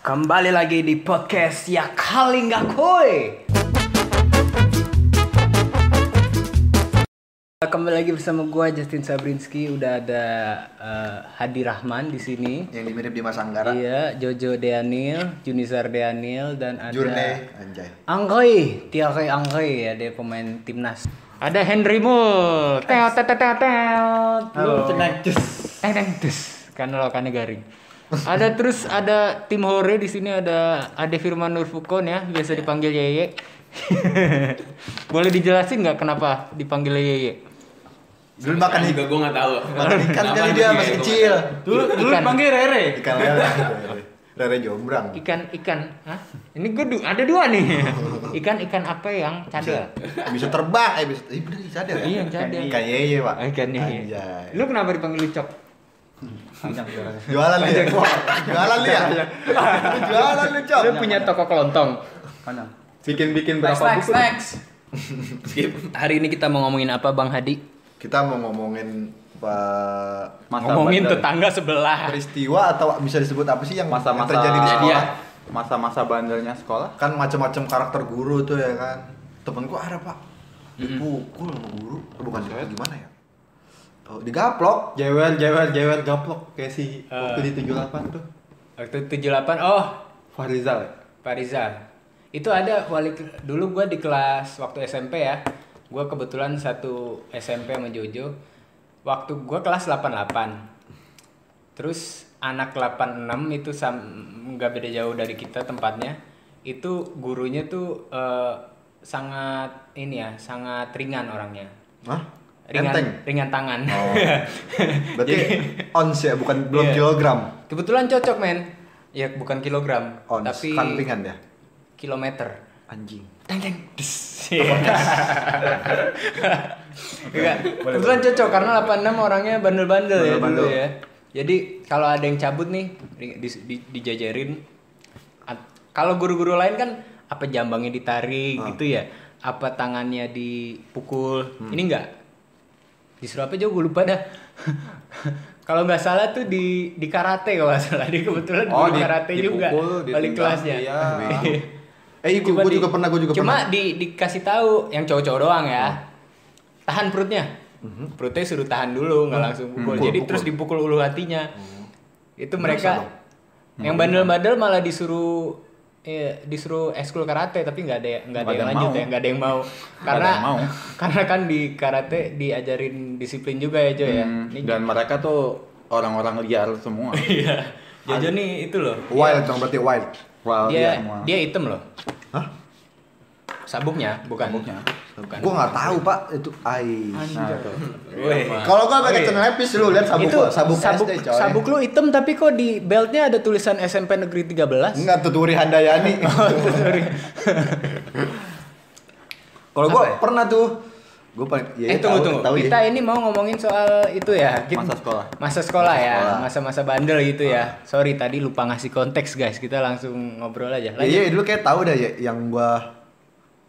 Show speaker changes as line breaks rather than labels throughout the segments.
Kembali lagi di podcast ya kali nggak koi. Kembali lagi bersama gua Justin Sabrinski. Udah ada eh, Hadi Rahman di sini.
yang dimirip di Anggara
Iya, Jojo Deanil, Junizar Deanil dan ada
Jurne anjay
Angkoi, Tiakai Angkoi ya dia pemain timnas. Ada Henry Mul. Teo teo teo teo, teo. Lu tenang cus. Teng teng cus. Karena lawakannya kan garing. Ada terus ada tim Hore di sini ada Ade Firman Nurfukon ya, biasa dipanggil Yeye. Boleh dijelasin nggak kenapa dipanggil Yeye?
dulu makan
juga gue nggak tahu
makan ikan
Kenapa
kali
nih
dia masih
gua nggak
kecil
Dulu dulu
Ikan.
dipanggil Rere.
ikan lele lele jombrang
Ikan ikan, Hah? Ini gue du- ada dua nih. Ikan ikan apa yang cadel?
bisa terbang eh bisa eh bener bisa ada ya
Iya, cadel.
ikan yeye pak
Ah, Ikan Yeye.
Anjay.
Lu kenapa dipanggil Ucok?
jualan dia jualan dia Lu jualan lu cok
Lu punya toko kelontong.
Bikin-bikin
Next,
berapa
next,
buku?
next.
Skip. Hari ini kita mau ngomongin apa Bang Hadi?
kita mau ngomongin pak
Masa
ngomongin
bandel.
tetangga sebelah.
peristiwa atau bisa disebut apa sih yang yang
masa-masa
terjadi di sekolah
Masa-masa bandelnya sekolah.
kan macam-macam karakter guru tuh ya kan temenku ada pak dipukul sama guru Eh, bukan dipukul gimana ya Oh, digaplok
Jewer, jewer, jewer, gaplok kayak si
Ah.
waktu di 78 tuh.
Waktu 78, oh
Fahrizal ya?
Pak Rizal. Itu ada wali ke- dulu gua di kelas waktu SMP ya. Gua kebetulan satu SMP sama Jojo. Waktu gua kelas 88. Terus anak 86 itu sam- nggak beda jauh dari kita tempatnya. Itu gurunya tuh eh, sangat ini ya, sangat ringan orangnya.
Hah?
Ringan
Enteng?
ringan tangan.
Oh. Berarti ons ya, bukan belum
Iya.
kilogram.
Kebetulan cocok men. Ya bukan kilogram,
Ons,
tapi
kan ringan ya.
kilometer.
Anjing.
Teng teng. Des. Enggak. Kebetulan cocok karena 86 orangnya bandel-bandel ya dulu
Bandel-bandel.
ya. Jadi kalau ada yang cabut nih di- di- di- dijajarin At- kalau guru-guru lain kan apa jambangnya ditarik
Ah.
gitu ya, apa tangannya dipukul.
Hmm.
Ini enggak. Disuruh apa jauh gue lupa dah. kalau nggak salah tuh di di karate kalau nggak salah. Dia kebetulan
Oh,
guru
di-
karate juga
dipukul,
wali
ditendang,
kelasnya.
iya.
Eh, itu
Coba
gue
di-
juga pernah, gue juga
cuma
pernah. Hmm.
di dikasih tahu yang cowok-cowok doang ya. Tahan perutnya. Perutnya suruh tahan dulu, nggak langsung pukul.
Hmm. Pukul,
Jadi
pukul.
terus dipukul ulu hatinya. Itu
Masa
mereka
dong?
Hmm.
yang bandel-bandel malah disuruh eh, disuruh eskul karate tapi nggak ada nggak ada yang
Nggak ada yang
lanjut
mau.
ya nggak ada yang mau
ada
karena
yang mau.
karena kan di karate diajarin disiplin juga ya
Iya,
Joy ya
Hmm,
Ini
Dan mereka tuh orang-orang liar semua.
iya Jojo nih itu loh
Wild dong, berarti wild.
Wah, liar
dia
semua.
dia hitam loh
Hah?
sabuknya bukan
Sabuknya.
bukan
Gue nggak tahu pak, itu ai.
Nah, tuh.
Weh.
Kalau gue pakai celana lepis lu lihat sabuk
itu
gua, sabuk,
sabuk,
SD coy.
sabuk lu hitam tapi kok di beltnya ada tulisan SMP Negeri 13
Enggak tuh Turi Handayani.
Oh, sorry
Kalau gue pernah tuh, gue paling.
ya?
ya,
eh tunggu
tahu-
tunggu
tahu ya.
kita ini mau ngomongin soal itu ya kita-
Masa sekolah.
masa sekolah
Masa
ya
sekolah. Ah.
masa-masa bandel gitu ya sorry tadi lupa ngasih konteks guys kita langsung ngobrol aja
Iya,
lanjut
iya, dulu kayak tahu dah ya, yang gua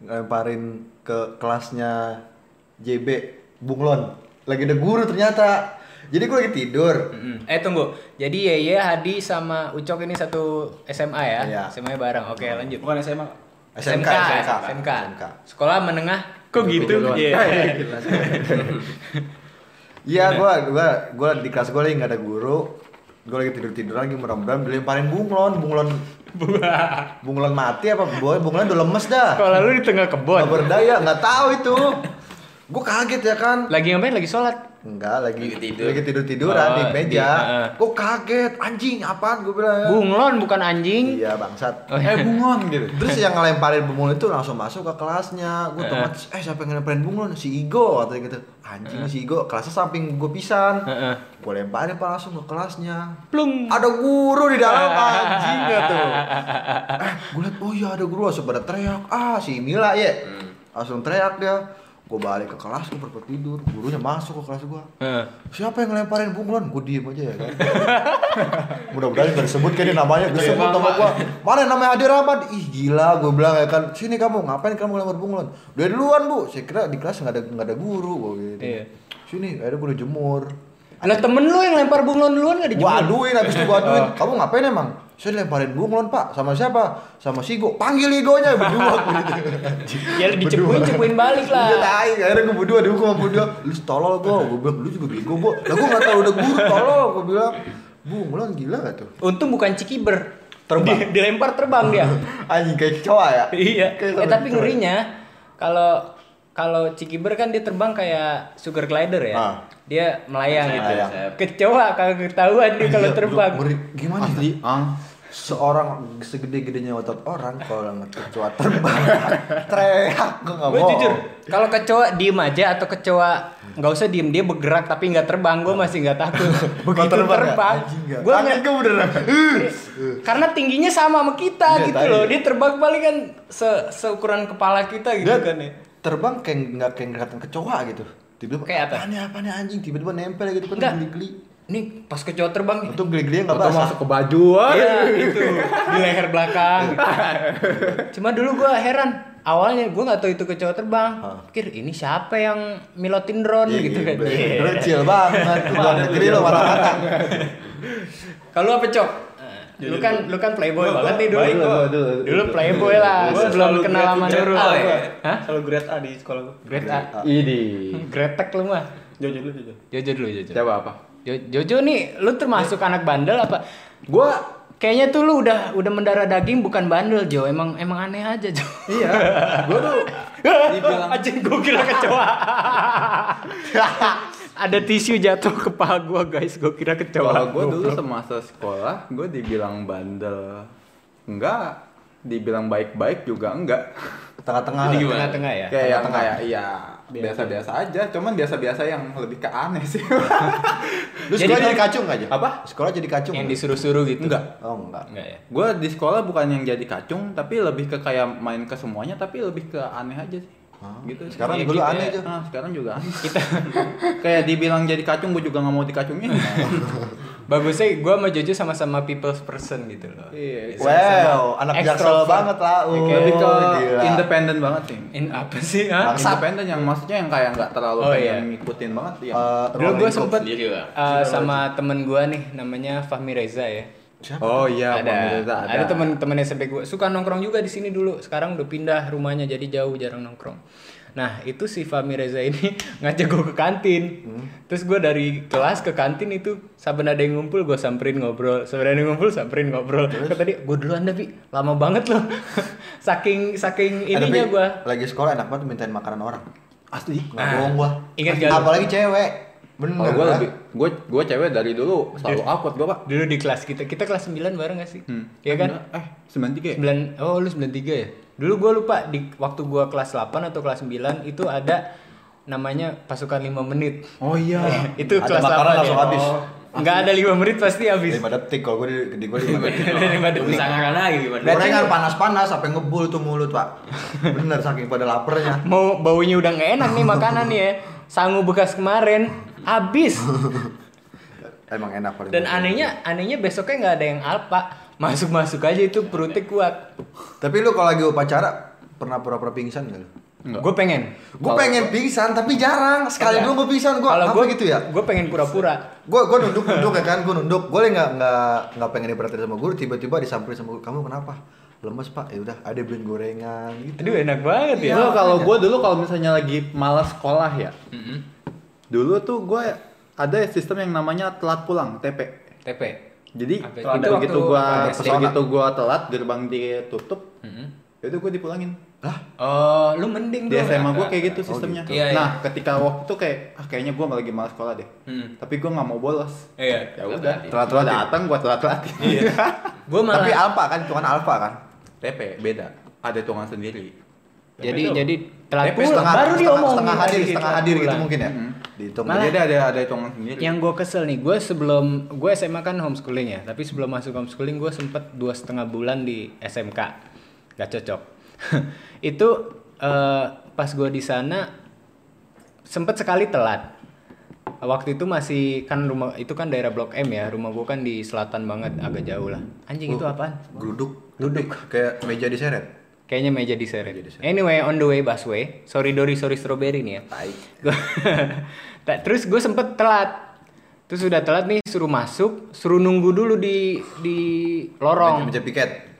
lemparin ke kelasnya JB Bunglon. Lagi ada guru ternyata. Jadi gua lagi tidur.
Mm-mm. eh tunggu jadi Yeye Hadi sama Ucok ini satu SMA ya
Iya.
SMA -nya bareng oke lanjut
Bukan SMA.
SMK,
SMK,
SMK.
SMK. sekolah menengah kok gitu Iya. Nah.
Iya, gua gua gua di kelas gua lagi nggak ada guru. Gua lagi tidur-tiduran lagi merem-merem dilemparin bunglon, bunglon. bunglon mati apa boy? Bunglon udah lemes dah.
kalau lu di tengah
Gak
kebun
berdaya, nggak tahu itu. Gua kaget ya kan.
lagi ngapain lagi sholat
Enggak, lagi
Lagi tidur.
lagi tidur-tiduran
Oh,
di
di-
meja.
heeh.
Gua kaget, anjing apaan gua bilang. ya.
Bunglon bukan anjing.
Iya, bangsat.
Oh,
Eh, bungon gitu.
Terus yang ngelemparin bunglon itu langsung masuk ke kelasnya. Gue otomatis, eh siapa yang ngelemparin bunglon? Si Igo katanya gitu. Anjing si Igo, kelasnya samping gue pisan.
Heeh.
Gue lemparin pak langsung ke kelasnya.
Plung.
Ada guru di dalam anjing gak tuh. Eh, gue liat, oh iya ada guru langsung pada teriak. Ah, si Mila ya. Langsung teriak dia. Gue balik ke kelas, gue berpet tidur. Gurunya masuk ke kelas gue.
Heeh.
Siapa yang ngelemparin bunglon? Gue diem aja ya kan. Mudah-mudahan gak disebut kayak dia namanya. Gue sebut sama gue. Mana namanya Adi Rahmat? Ih gila gue bilang ya kan. Sini kamu ngapain kamu ngelempar bunglon? Udah duluan bu. Saya kira di kelas gak ada nggak ada guru gue gitu.
Iya.
Sini akhirnya gue udah jemur.
Lah temen lu yang lempar bunglon duluan gak dijemput?
Gue aduin habis itu gue aduin. Kamu ngapain emang? Saya dilemparin bunglon pak, sama siapa? Sama si Go. Panggil Igonya berdua. Gitu.
ya dicepuin cepuin balik
Iya,
Udah
lah
tai, Iya, akhirnya gue berdua dihukum sama berdua. Lu tolol gue, gue bilang lu juga bego gue. Lah gue nggak tahu udah guru tolol, gue bilang. Bunglon gila gak tuh?
untung bukan cikiber
Terbang.
Di- dilempar terbang dia
Anjing kayak kecoa ya?
iya
Kayak sama
eh tapi
kecoa.
ngerinya kalau kalau cikiber kan dia terbang kayak sugar glider ya
Ah.
dia melayang gitu
Melayang.
kecoa kagak ketahuan dia kalau
Iya,
terbang
lu ngeri- gimana?
Asli.
ya? Seorang segede-gedenya otot orang kalau nggak kecoa terbang teriak gue nggak
Gue
mau.
jujur, kalau kecoa diem aja atau kecoa nggak usah diem dia bergerak tapi nggak terbang, gue masih nggak takut. Begitu
gue
terbang, gue nggak-
gue beneran. Uh.
karena tingginya sama sama kita
Iya,
gitu
tai.
loh. Dia terbang paling kan se- seukuran kepala kita gitu
Dia
kan ya.
terbang kayak nggak kayak kelihatan kecoa gitu. Tiba-tiba
Kayak apa?
apa? Apaan ya, apaan ya, anjing? Tiba-tiba nempel gitu kan
Nggak.
geli-geli.
Nih pas kecoa terbang nih.
Untung geli-geli nggak
Atau
basah.
masuk ke baju.
Oh,
Iya, itu
gitu.
di leher belakang. Cuma dulu gue heran. Awalnya gue nggak tahu itu kecoa terbang.
Hah.
Pikir ini siapa yang milotin drone
Iya,
gitu
iya,
kan.
bener.
Iya.
Bener, Kecil banget. Tuh, Luar negeri lo marah-marah.
Kalau lu apa cok? Lu kan lu kan playboy banget nih dulu.
baik
Dulu,
kok.
dulu, playboy lah
Gua
sebelum
selalu
kenal
grade-
sama
grade
Nurul.
A, gua.
Hah?
Selalu grade A di sekolah gue.
Grade A.
Idi.
Gretek lu mah.
Jojo dulu Jojo.
Jojo dulu Jojo.
Coba apa?
Jo- Jojo nih lu termasuk
Eh.
anak bandel apa? Gua kayaknya tuh lu udah udah mendarah daging bukan bandel Jo. Emang emang aneh aja Jo.
Iya. Gua tuh dibilang
Anjing gua kira kecoa. Ada tisu jatuh ke paha gua guys. Gua kira
kalau
kecoa.
gua dulu semasa sekolah, gua dibilang bandel. Enggak, dibilang baik-baik juga enggak.
Tengah-tengah.
Jadi
lah.
gimana? Tengah-tengah ya?
Kayak yang
Tengah-tengah.
kayak iya biasa-biasa aja, cuman biasa-biasa yang lebih ke aneh sih.
Lu sekolah
Jadi kalau-
jadi kacung aja?
Apa?
Sekolah jadi kacung.
Yang
nggak?
disuruh-suruh gitu.
Enggak.
Oh enggak.
Enggak ya.
Gue di sekolah bukan yang jadi kacung, tapi lebih ke kayak main ke semuanya, tapi lebih ke aneh aja sih.
Hah?
Gitu.
Ah,
sih.
Sekarang
Iya,
dulu
gitu
aneh
ya.
aja.
Ah, sekarang juga aneh. Kita kayak dibilang jadi kacung, gue juga nggak mau dikacungin.
Oh,
Bagusnya gua sama Jojo sama-sama people's person gitu loh.
Iya.
Wow, anak jaksel
Extrovert.
banget lah. Uh,
Lebih ke
gila. Eh,
independen banget sih.
In apa sih? Hah?
Bangsa.
Independen yang maksudnya yang kayak nggak terlalu
Oh,
pengen
iya.
ngikutin banget yang
Eh,
Dulu gue
Rolling Stone.
sempet
sendiri lah.
eh, sama temen gue nih namanya Fahmi Reza ya.
Siapa?
Oh
ada,
iya, pemirsa,
ada, temen-temen SMP gue suka nongkrong juga di sini dulu. Sekarang udah pindah rumahnya jadi jauh jarang nongkrong. Nah itu si Fahmi Reza ini ngajak gue ke kantin. Terus gue dari kelas ke kantin itu saben ada yang ngumpul gue samperin ngobrol, saben ada yang ngumpul samperin ngobrol. Kata tadi gue duluan tapi lama banget loh. saking saking
Eh, tapi
ininya gue.
Lagi sekolah enak banget mintain makanan orang.
Asli.
Nggak bohong gua.
Ah. Ingat gak lu? ah.
Apalagi cewek. Bener.
Kalau gue
kan?
lebih, gue gue cewek dari dulu
Iya.
selalu awkward gue pak.
Dulu di kelas kita kita kelas 9 bareng gak sih? Iya kan?
Eh, 93 ya?
9 oh lu 93 ya dulu gue lupa di waktu gue kelas 8 atau kelas 9 itu ada namanya pasukan 5 menit
Oh iya.
itu
Ada
kelas
makanan
8
langsung
ya.
habis.
nggak ada 5 menit pasti habis
Lima detik kalau gue di, di gue lima detik.
ada 5 detik
Disangkakan lagi gimana?
Gorengan panas-panas sampai ngebul tuh mulut pak. Bener saking pada lapernya.
mau baunya udah nggak enak nih makanan nih ya sangu bekas kemarin habis
Emang enak paling.
dan anehnya anehnya besoknya nggak ada yang alpa masuk masuk aja itu perutnya kuat
Tapi lu kalau lagi upacara pernah pura-pura pingsan gak lu?
Nggak.
gue pengen
Gue pengen pingsan tapi jarang. Sekali dulu gue pingsan gue.
kalau
Apa
gue
gitu ya?
gue pengen pura-pura
gue gue nunduk nunduk ya kan gue nunduk gue nggak nggak nggak pengen diperhatiin sama guru tiba-tiba disamperin sama guru kamu kenapa lemes pak ya udah ada beliin gorengan gitu
aduh enak banget ya
Lo kalau gue dulu kalau misalnya lagi malas sekolah ya, dulu tuh gue ada sistem yang namanya telat pulang TP.
TP
Jadi
Apa itu?
itu
Itu
begitu
waktu
gue
apa,
SD?
begitu gue telat gerbang ditutup,
Mm-hmm.
itu gue dipulangin. Lah,
oh lu mending
di
dong.
SMA gue kayak gitu
Oh,
sistemnya.
gitu. Iya, iya.
Nah, ketika waktu itu kayak ah kayaknya gue lagi malas sekolah deh. Tapi gue nggak mau bolos.
Mm. Iya.
Ya udah,
Telat-telatin.
datang gue telat-telatin. Iya.
Gue malah.
tapi alfa kan cuman alfa kan
TP beda. Ada hitungan sendiri.
jadi
Tapi
jadi telat
Tapi
pulang.
setengah
baru dia
setengah,
omongin
setengah hadir
lagi,
setengah
telat
hadir gitu
pulang. Mm-hmm.
mungkin ya
Mhm.
dihitung
Malah-
Jadi ada ada hitungan sendiri.
Yang gue kesel nih, gue sebelum gue SMA kan homeschooling ya, tapi sebelum masuk homeschooling gue sempet dua setengah bulan di SMK, gak cocok. Itu eh, pas gue di sana sempet sekali telat. Waktu itu masih kan rumah itu kan daerah Blok M ya, rumah gue kan di selatan banget, agak jauh lah.
Oh.
Anjing itu apaan?
geluduk geluduk kayak meja diseret
Kayaknya meja diseret. Anyway, on the way busway. Sorry Dori, sorry strawberry nih ya. Gua- Ta- Terus gue sempet telat. Terus udah telat nih suruh masuk, suruh nunggu dulu di di lorong.
meja piket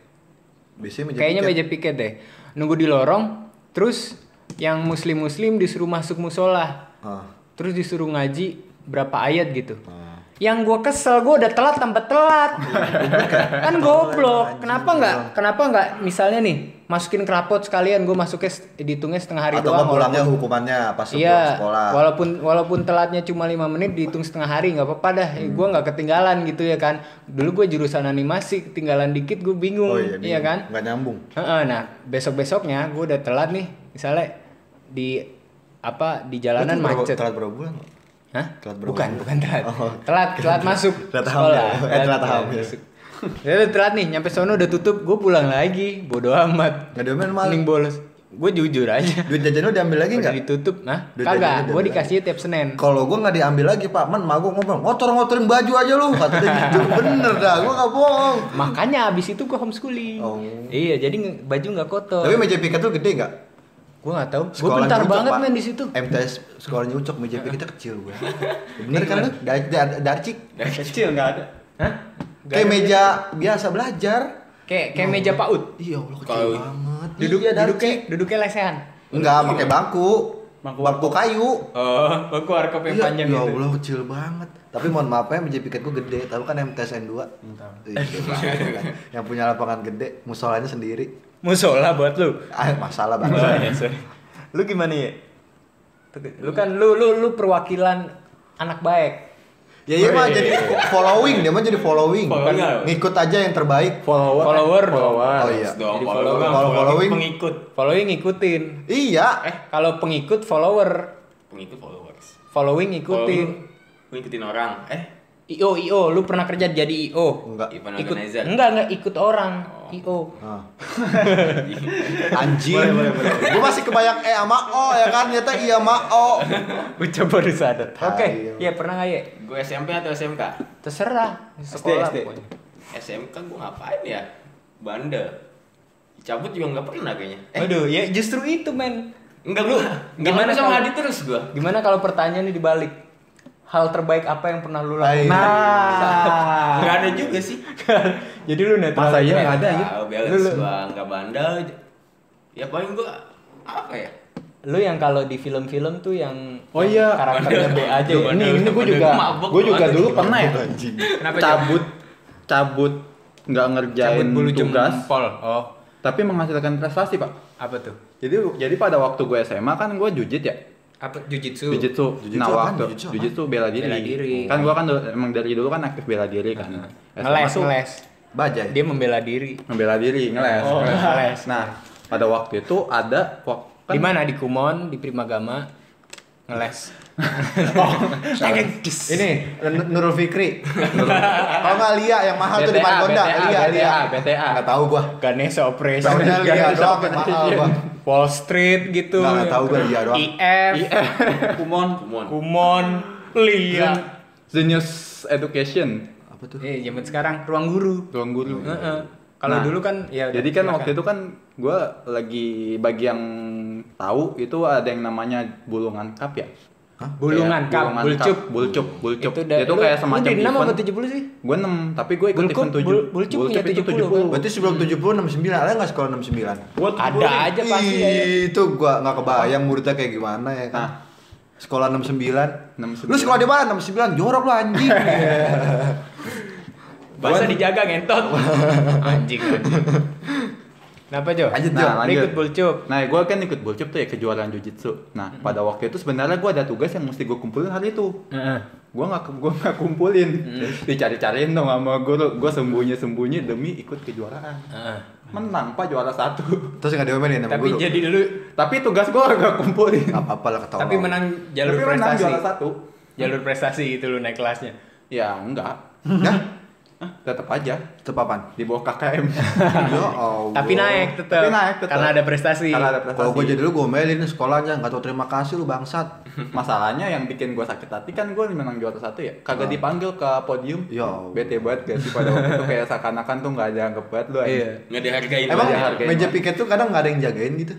biasanya meja
Kayaknya
piket
meja piket deh. Nunggu di lorong, terus yang muslim-muslim disuruh masuk musola.
Ah.
Terus disuruh ngaji berapa ayat gitu. Yang gue kesel, gue udah telat tanpa telat. kan goblok. Kenapa nggak? Kenapa nggak? Misalnya nih, masukin kerapot sekalian. Gue masuknya set- dihitungnya setengah hari
atau
doang.
nggak pulangnya hukumannya pas lu pulang
Iya,
sekolah
walaupun walaupun telatnya cuma lima menit dihitung setengah hari nggak apa-apa dah.
Hmm.
Eh, Gua nggak ketinggalan gitu ya kan. Dulu gue jurusan animasi ketinggalan dikit gue bingung, iya,
Oh bingung.
kan.
nggak nyambung
Heeh, nah besok besoknya gue udah telat nih, misalnya di apa di
Lu
jalanan
tuh berapa-
macet.
telat berapa bulan Pak?
Hah?
Telat berapa
bukan,
bulan?
bukan telat.
Oh.
Telat, telat masuk.
Telat ham
sekolah.
ya? Eh, telat ham ya.
masuk. Ya udah telat nih, nyampe sono udah tutup, gue pulang lagi. Bodoh amat.
Nggak diomelin malah.
Mending bolos. Gue jujur aja.
duit jajan lu diambil lagi Iya
Udah
nggak
ditutup, nah?
Udah
Kagak,
diambil,
gue
diambil
dikasih tiap Senin.
kalau gue nggak diambil lagi pak man mak gue ngomong ngotor ngotorin baju aja lu katanya gitu bener dah gue nggak bohong
Makanya abis itu gue homeschooling.
Oh.
Iya, jadi nge- baju nggak kotor.
tapi meja piket lu gede nggak
Gue nggak tahu. Gue
Sekolahnya
bentar
Ucok,
banget
Pak.
main di situ.
MTS sekolahnya ucok meja piketnya kecil gue bener
Iya,
kan lu Dar- dar- darcik
Kecil nggak ada.
Hah?
kayak meja biasa belajar
Kayak kayak meja PAUD.
iya Allah kecil
Kalau-
banget
Duduk, Iya.
iya
duduknya,
darcik
duduknya lesehan.
enggak pakai bangku
Bangku-
bangku kayu
Oh, aku warkop yang
Iya,
panjang
ya
gitu.
Allah kecil banget. Tapi mohon maaf ya meja piket gue gede, tapi kan MTS N2. Ih, gede banget, kan. Yang punya lapangan gede, musolanya sendiri.
Musola buat lu.
Ah, masalah banget.
Oh, iya, sorry. Lu gimana ya? Lu kan lu lu lu perwakilan anak baik.
ya iya mah jadi following, dia mah jadi following. Kan
Following apa?
Ngikut aja yang terbaik.
Follower.
Follower dong.
Oh iya.
Dong,
Jadi
follow-
follower.
follow-
Following.
pengikut.
Following ngikutin.
Iya.
Eh, kalau pengikut follower,
Pengikut followers.
following
Following,
ngikutin.
lu ngikutin orang. Eh,
IO IO, lu pernah kerja jadi IO?
Enggak.
event
Ikut,
organizer.
enggak enggak ikut orang IO.
Ah. Anjing. Gue masih kebayang E sama O ya kan, nyata iya sama O.
Gue coba baru sadar. Oke,
Ayo.
iya pernah nggak ya?
Gue SMP atau SMK?
Terserah. Sekolah
SD.
pokoknya.
SMK gue ngapain ya? Bandel. Dicabut juga nggak pernah kayaknya. Eh,
Waduh, ya justru itu men.
enggak lu.
gimana
Gimana sama
kalau-
Hadi terus gue?
Gimana kalau pertanyaannya dibalik? Hal terbaik apa yang pernah lu
Nah.
lakukan? Nah.
Enggak ada juga sih.
Jadi lu netral.
Masa iya nggak ada ya?
Tahu balance gua enggak bandel. Ya paling gua apa ya?
Lu yang kalau di film-film tuh yang
Oh iya.
karakternya B aja. ya?
Ini ini gue
Bandel.
juga,
Mabok
gue juga
banget.
dulu pernah ya.
Anjing.
Kenapa, Jok?
Cabut, cabut, nggak ngerjain tugas,
jempol. Oh,
tapi menghasilkan prestasi pak.
apa tuh?
Jadi jadi pada waktu gue SMA kan gue jujit ya.
Apa jujitsu?
Jujitsu.
Jujitsu
nah,
apaan?
waktu
Jujitsu
jujitsu,
apaan?
bela diri.
Bela diri.
Kan gua kan du- emang dari dulu kan aktif bela diri kan. SMA
Ngeles,
tuh
ngeles.
Bajai.
Dia membela diri.
Membela diri, ngeles.
Oh,
ngeles.
ngeles.
Nah, pada waktu itu ada wak- kan
Di mana di Kumon, di Primagama ngeles.
Oh.
Ini
Eh.
Nur- Nurul Fikri. Kalau nggak Lia yang mahal tuh di
BTA,
Margonda.
BTA,
Lia, Lia.
BTA.
Nggak tahu gua.
Ganesha Operation.
Tahunya Lia doang yang mahal gua.
Wall Street gitu.
Nggak, nggak tahu gua Lia doang.
IF,
Kumon
Iya. Kumon.
Kumon,
Hmm.
Lia.
Genius Education,
Apa tuh?
Eh, zaman sekarang ruang guru.
ruang guru.
Heeh. Kalau
Nah,
dulu kan ya
Jadi kan waktu itu kan gua lagi bagi yang tahu itu ada yang namanya bulungan cup ya.
bulungan
Kayak
cup,
Iya, bulungan
bulcup.
bulcup, bulcup.
Itu, dari
Itu kayak semacam
Lu di enam apa
event.
70 sih?
Gue 6, tapi gue ikut
Bulcup,
event 7
bul- bulcup punya 70,
Berarti sebelum 70 69 ada nggak sekolah 69?
Ada aja pasti ya.
Ih, Itu gua nggak kebayang muridnya kayak gimana ya kan.
Nah.
Sekolah 69.
69.
Lu sekolah di mana? 69. Jorok lu anjing.
Bahasa dijaga ngentot. anjing, anjing. Kenapa, Jo?
Lanjut, Jo.
Nah,
Lu
lanjut.
ikut bulcup.
Nah, gue kan ikut bulcup tuh ya kejuaraan jujitsu. Nah,
Hmm.
pada waktu itu sebenarnya gue ada tugas yang mesti gue kumpulin hari itu.
Heeh.
Gue nggak ke- gua nggak kumpulin,
Hmm.
dicari-cariin dong sama guru. Gue sembunyi-sembunyi demi ikut kejuaraan.
Heeh.
Menang pak juara satu.
Terus nggak diomelin sama
Tapi
guru.
jadi lu
Tapi tugas gue nggak kumpulin.
Nggak apa-apa lah ketawa.
tapi menang jalur
Tapi menang
prestasi.
juara satu.
Jalur prestasi gitu lu naik kelasnya.
Ya enggak,
Nah,
tetap aja
itu papan.
di bawah KKM.
Ya Allah.
Tapi naik tetap.
Tapi naik tetap.
Karena ada prestasi.
Karena ada prestasi.
Kalau gua jadi lu gua omelin sekolahnya nggak tau terima kasih lu bangsat.
Masalahnya yang bikin gue sakit hati kan gue menang juara satu ya Kagak
Ah.
dipanggil ke podium
Ya Allah.
Bete banget gak sih pada waktu itu kayak seakan-akan tuh gak ada anggap banget lu
Iya.
Enggak dihargain.
Emang
aja.
hargain
meja
banget.
piket tuh kadang nggak ada yang jagain gitu.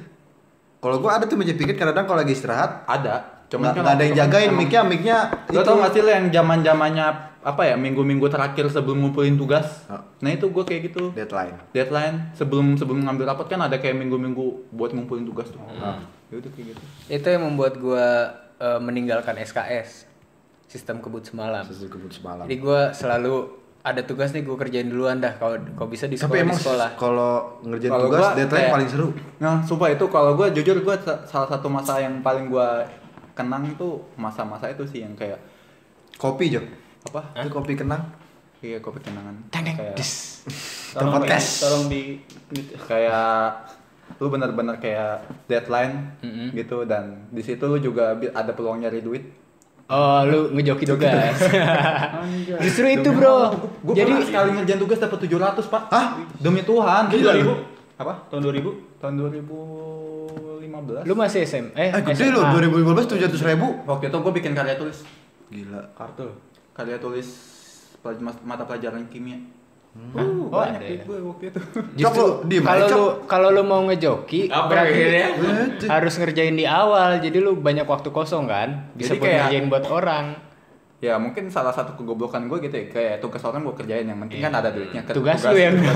Kalau gua ada tuh meja piket kadang kalau lagi istirahat
Ada Cuman
Nggak
kan
nggak ada yang
waktu itu kan
jagain ya?
emang-
mic-nya, mic-nya
Lo tau gak sih lo yang zaman zamannya apa ya minggu-minggu terakhir sebelum ngumpulin tugas?
Ah.
Nah itu gue kayak gitu.
deadline.
Deadline sebelum sebelum ngambil rapot kan ada kayak minggu-minggu buat ngumpulin tugas tuh.
Hmm.
Ya udah kayak gitu.
Itu yang membuat gue meninggalkan SKS, sistem kebut semalam.
Sesuai kebut semalam.
Jadi gue selalu ada tugas nih gue kerjain duluan dah. Kalau kalau bisa di
Tapi
sekolah,
emang
di sekolah.
kalau ngerjain
Kalau
tugas
gua
deadline
kayak-
paling seru.
Nah sumpah itu kalau gue jujur gue salah satu masa yang paling gue kenang tuh masa-masa itu sih yang kayak
Kopi, Jok.
apa?
Itu kopi kenang.
Iya kopi kenangan.
Tandeng,
Kayak-
des.
Tempat
di-
tes.
tolong di kayak lu bener-bener kayak deadline
Mm-mm.
gitu dan di situ lu juga bi- ada peluang nyari duit.
Oh, lu ngejoki tugas. Justru itu,
Demi
Bro.
Allah, gua- gua
Jadi
pernah sekali ngerjain tugas dapat 700, Pak. Hah? Demi Tuhan.
Tahun 2000?
Apa?
Tahun 2000?
Tahun 2015.
lu masih SM eh,
Eh, gede
SMA.
loh 2015 700 ribu.
Waktu itu gue bikin karya tulis.
Gila.
Kartu.
Karya tulis pelaj- mas- mata pelajaran kimia.
Oh,
Uh, banyak
ada
duit
ya.
gue waktu itu.
Justru
Justru
diem
kalau
aja, Eh,
lu kalau lu mau ngejoki
Apa akhirnya?
berarti harus ngerjain di awal. Jadi lu banyak waktu kosong kan? Bisa
Jadi
buat
kayak-
ngerjain buat orang.
Ya mungkin salah satu kegoblokan gue gitu ya kayak tugas orang gue kerjain yang penting kan ada duitnya. Ke-
Tugas lu yang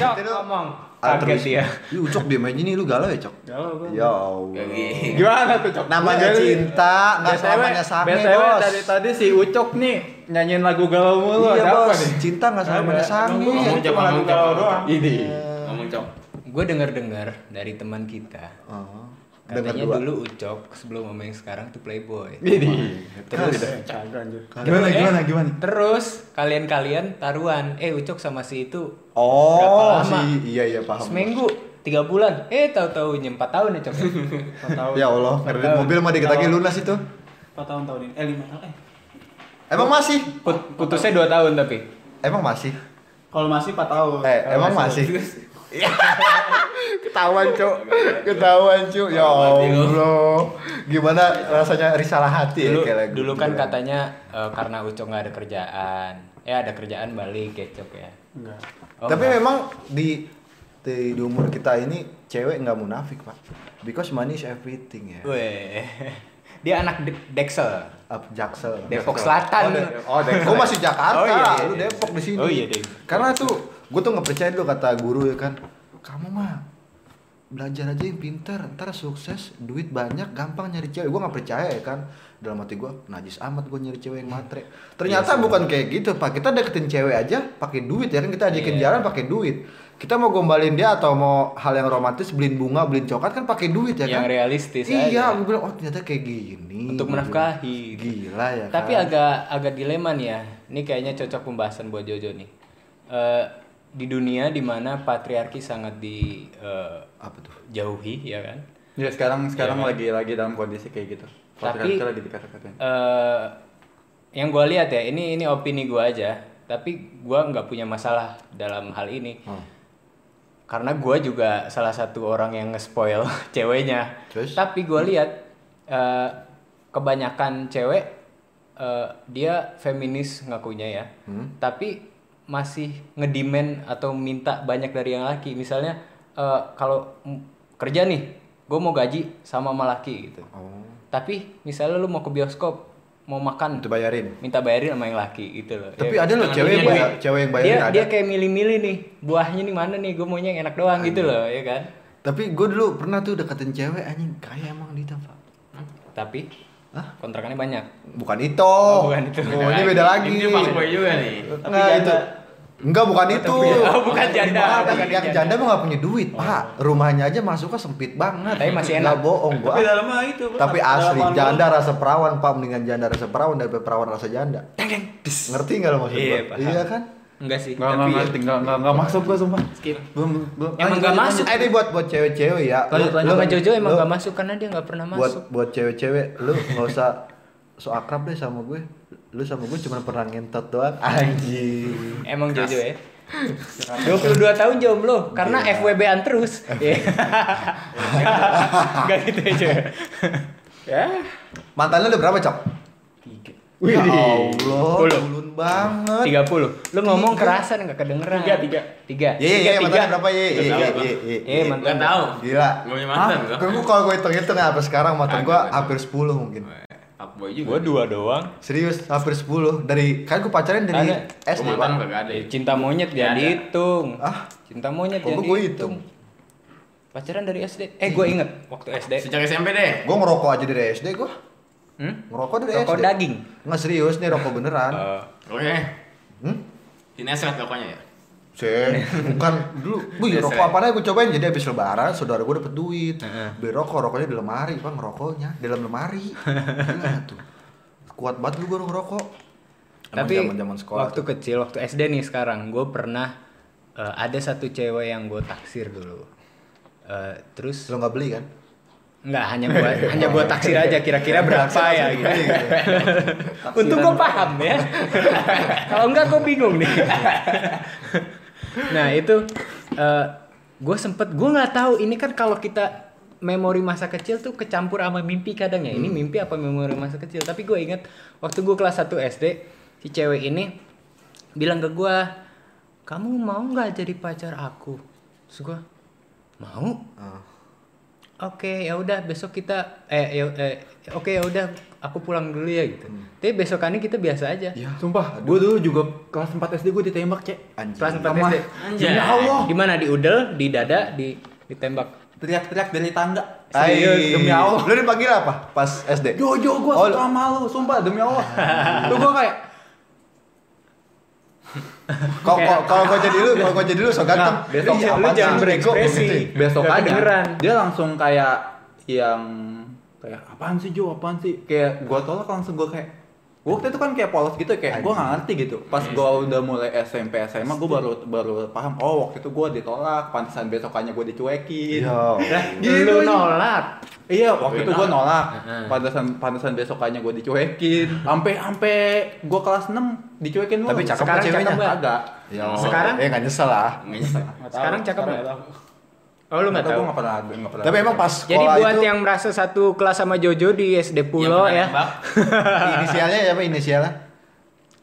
Cok,
Gitu.
Itu-
ngomong. Kaget
Altruis.
dia.
Ah, Ih, Cok diem aja nih lu galau ya, Cok.
Galau gua.
Ya Allah.
Gini.
Gimana tuh Cok?
Namanya
Jadi-
cinta, nggak
BTW
selamanya sange,
BTW
Bos.
dari tadi si Ucok nih nyanyiin lagu galau mulu
Iya,
ada apa
Bos.
nih?
Cinta nggak selamanya sange.
Ngomong cok, ngomong cok.
Ini.
Ngomong cok.
Gue denger-dengar dari teman kita.
Oh, Dengar
Katanya
dua.
dulu Ucok sebelum sama yang sekarang tuh playboy.
Ini.
Terus
Kagak anjir.
Gimana
Eh,
gimana gimana?
Terus kalian-kalian taruhan. Eh Ucok sama si itu
Oh,
berapa lama?
si iya iya paham.
Seminggu, tiga bulan. Eh tahu-tahu ini empat tahun ya Cok.
Tahun.
Ya Allah, kredit mobil mah dikit lagi lunas itu.
4 tahun tahun ini. Eh 5 eh.
Emang masih?
Put- putusnya dua tahun tapi.
Emang masih?
Kalau masih 4 tahun.
Eh,
Kalau
emang masih? Iya. Ketahuan, Cuk. Ketahuan, Cuk. Ya Allah. Gimana rasanya risalah hati ya
Dulu,
kayak lagu
dulu
gitu
kan katanya eh, karena Ucok nggak ada kerjaan. Eh ada kerjaan balik ya Cok ya.
Enggak.
Oh,
Tapi
nggak.
memang di, di di umur kita ini cewek nggak munafik, Pak. Because money is everything ya.
Weh. Dia anak De- Dexel.
Up Jaksel.
Depok Selatan.
Oh, Dex.
Gue masih Jakarta,
Oh, iya, iya,
lu
iya.
Depok di sini.
Oh, iya, Dek.
Karena tuh gue tuh nggak percaya dulu kata guru ya kan, kamu mah belajar aja yang pintar, ntar sukses, duit banyak, gampang nyari cewek. Gue nggak percaya ya kan. Dalam hati gue, najis amat gue nyari cewek yang matre.
Iya,
Ternyata bukan kayak gitu, pak. Kita deketin cewek aja pakai duit ya kan. Kita ajakin
Iya.
jalan pakai duit. Kita mau gombalin dia atau mau hal yang romantis, beliin bunga, beliin coklat kan pakai duit ya
Yang
kan.
realistis
Iya,
aja.
gue bilang oh ternyata kayak gini.
Untuk
Gua bilang,
menafkahi.
Gila ya.
Tapi
kan?
agak agak dilema nih ya. Ini kayaknya cocok pembahasan buat Jojo nih. Eh, di dunia dimana patriarki sangat di eh,
apa tuh?
jauhi ya kan.
Ya sekarang sekarang lagi lagi dalam kondisi kayak gitu.
Tapi-
Patriarki lagi dikata-katain.
eh yang gue lihat ya ini ini opini gue aja tapi gue nggak punya masalah dalam hal ini
Hmm.
karena gue juga salah satu orang yang nge-spoil ceweknya
Terus? Hmm.
tapi gue lihat eh, kebanyakan cewek eh, dia feminis ngakunya ya
Hmm.
tapi masih ngedimen atau minta banyak dari yang laki misalnya eh, kalau mm, kerja nih gue mau gaji sama sama laki gitu
Oh.
tapi misalnya lu mau ke bioskop, mau makan,
Itu bayarin.
minta bayarin sama yang laki gitu loh.
Tapi
Ya,
ada loh
Tangan
cewek yang
dunia
bayar,
nih.
cewek yang
dia
bayarin ada.
dia kayak milih-milih nih, buahnya nih mana nih, gue maunya yang enak doang gitu loh, ya kan?
Tapi gue dulu pernah tuh deketin cewek anjing kaya emang Dita, Pak.
Tapi
Hah?
kontrakannya banyak.
Bukan itu.
Oh, bukan itu.
Oh, ini beda lagi.
Ini fuckboy juga nih.
Enggak itu. Enggak bukan itu.
Oh, bukan janda,
Gimana?
bukan
yang
janda. Oh.
janda mah gak punya duit, Pak. Rumahnya aja masuknya sempit banget.
Tapi masih
Nggak
enak.
bohong gua.
Tapi dalamnya itu. Pak.
Tapi
Dalam
asli
lapangan
janda rasa perawan, Pak. Mendingan janda rasa perawan daripada perawan rasa janda. Ngerti enggak lo maksud
Iya,
gua?
paham.
Iya kan?
Enggak sih.
Enggak enggak
tapi
ngerti, enggak enggak enggak masuk gua sumpah.
skip.
Belum belum.
Emang
Lanjut,
nggak
lanjut.
masuk.
Eh, Ini buat buat cewek-cewek ya. Lu-
Lanjut, lanjut,
lu-
Sama Jojo emang
lu-
gak masuk karena dia gak pernah
buat
masuk.
buat cewek-cewek lu nggak usah so akrab deh sama gue lu sama gue cuma pernah ngentot doang anjing
Emang Jojo ya. 22 tahun jomblo karena FWB-an terus. Iya. Enggak gitu aja. ya.
Ya? mantan lu udah berapa cok
Tiga.
Wih.
Ya Allah,
Puluh.
ulun banget.
30. Lu ngomong kerasan nggak kedengeran.
Tiga, tiga.
Tiga.
Ye, ye, ye,
Tiga,
mantan
tiga.
iya, berapa ya? iya, ye? Ye,
Nggak
ye,
tahu,
ye, ye, ye.
Eh, mantan.
Gak tahu.
Gila.
Gua punya mantan
Hah?
gua.
Gua- kalau gue hitung-hitung ya, sampai sekarang mantan gue
Agak.
hampir 10 mungkin.
Fuckboy juga.
Gua dua doang.
Serius, hampir 10. Dari kan gue pacaran dari
Ada.
SD.
Gua mantan
Pak.
kagak ada. ya.
Cinta monyet
Nggak
jangan
ada.
dihitung.
Ah.
Cinta monyet
Kok
jangan
gua hitung?
dihitung. Pacaran dari SD. Eh, gue inget waktu SD.
Sejak SMP deh.
Gue ngerokok aja dari SD gue.
Hmm?
Ngerokok dari SD.
Rokok daging.
Nggak serius nih rokok
kan?
beneran.
Oh. Oke.
Hmm?
Di Nesret pokoknya ya.
Cek, bukan dulu. Wih,
Biasa
rokok
ya.
apaan aja gue cobain. Jadi habis lebaran, saudara gue dapet duit. Beli rokok, rokoknya di lemari, Bang, rokoknya di dalam lemari. Gila tuh. Kuat banget lu gue ngerokok. Emang
Tapi
zaman-zaman sekolah
waktu kecil, waktu SD nih sekarang, gue pernah eh, ada satu cewek yang gue taksir dulu. Eh, terus
Lo nggak beli kan?
Enggak, hanya buat hanya buat taksir aja kira-kira berapa ya gitu. Untung gue paham ya. Kalau enggak gue bingung nih. nah, itu gue sempet gue nggak tahu ini kan kalau kita memori masa kecil tuh kecampur sama mimpi kadang ya. Ini mimpi apa memori masa kecil? Tapi gue inget waktu gue kelas 1 SD si cewek ini bilang ke gue, "Kamu mau nggak jadi pacar aku?" Terus gue, "Mau."
Ah.
Oke, ya udah besok kita eh, ya- eh, oke ya udah aku pulang dulu ya gitu. Tapi besokannya kita biasa aja.
Ya,
Sumpah, gue dulu juga kelas 4 SD gue ditembak, Cek.
anjing.
Kelas 4
Sama-
SD.
Anjay.
Ya Allah.
Gimana di udel, di dada, di ditembak.
Teriak-teriak dari tangga.
Ay,
Serius, demi Allah.
Lo dipanggil apa pas SD?
Jojo gue
Oh,
suka
lu-
sama lu, sumpah demi Allah. Tuh gue kayak,
Kok kok- kalau gue jadi lu, kalau gue jadi lu so ganteng.
Nah, besok
Ih,
lu
apaan
jangan
sih, bego, gitu
berekspresi.
ya?
Nggak kedengeran.
besokannya dia langsung kayak yang kayak apaan sih Jo apaan sih kayak gua tolak langsung gua kayak gua waktu itu kan kayak polos gitu kayak gua nggak ngerti gitu pas gua udah mulai SMP SMA gua baru baru paham oh waktu itu gua ditolak pantesan besokannya gua dicuekin
Iya.
Lah,
gitu.
lu nolak.
Iya, waktu itu gue
Gue
nolak.
Heeh.
Pantesan pantesan besokannya gue dicuekin. Sampai sampai gue kelas 6 dicuekin mulu.
Tapi cakep
Sekarang
apa ceweknya?
cakep nggak?
Agak.
Ya,
Sekarang?
eh nggak nyesel lah.
Nggak nyesel.
Sekarang cakep nggak? Oh, lu
Lu
nggak
tahu?
tahu.
Gue nggak pernah ada, nggak pernah.
Tapi
ada.
emang pas
Jadi
sekolah
buat
itu
yang merasa satu kelas sama Jojo di SD Pulo
Yang pernah
ya.
nembak,
inisialnya apa inisialnya?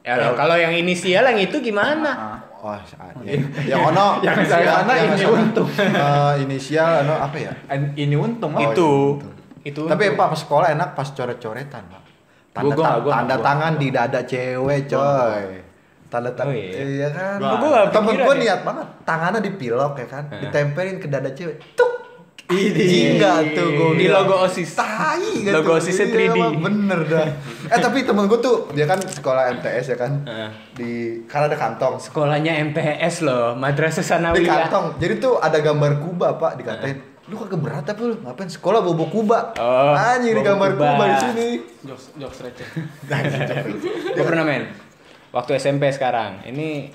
Ya, loh, kalau yang inisial yang itu gimana?
Ah.
Oh, ya.
iya.
yang ono
Yang
inisial-
saya mana
yang
ini
sana.
untung.
Eh, inisial ono apa ya?
An- ini untung
Oh,
itu.
Itu
Tapi
untuk-
Pak pas sekolah enak pas coret-coretan, Pak. Tanda,
Gua- gua nggak,
tang-
gua nggak,
tanda
gua
tangan di dada cewek, coy. Tanda tangan.
Oh, iya.
Iya kan.
Gua- gua nggak
Temen
pikiran
gua
ya. Eh.
niat banget, tangannya dipilok ya kan, ditempelin ke dada cewek. Tuk.
Ini.
Jingga tuh gua
Di
bilang.
logo OSIS.
Tai gitu.
Logo OSISnya
Iya,
3D.
emang Bener dah. Eh tapi temen gua tuh dia kan sekolah MTS ya kan.
Heeh.
Di karena ada kantong.
sekolahnya MTS loh, Madrasah
di
Sanawiyah.
kantong jadi tuh ada gambar Kuba pak dikatain lu kagak berat apa lu ngapain sekolah bobo Kuba
Oh,
anjir
bobo
gambar
Kuba.
Kuba, di sini
Jokes, jokes receh.
Gue pernah main. Waktu SMP sekarang. Ini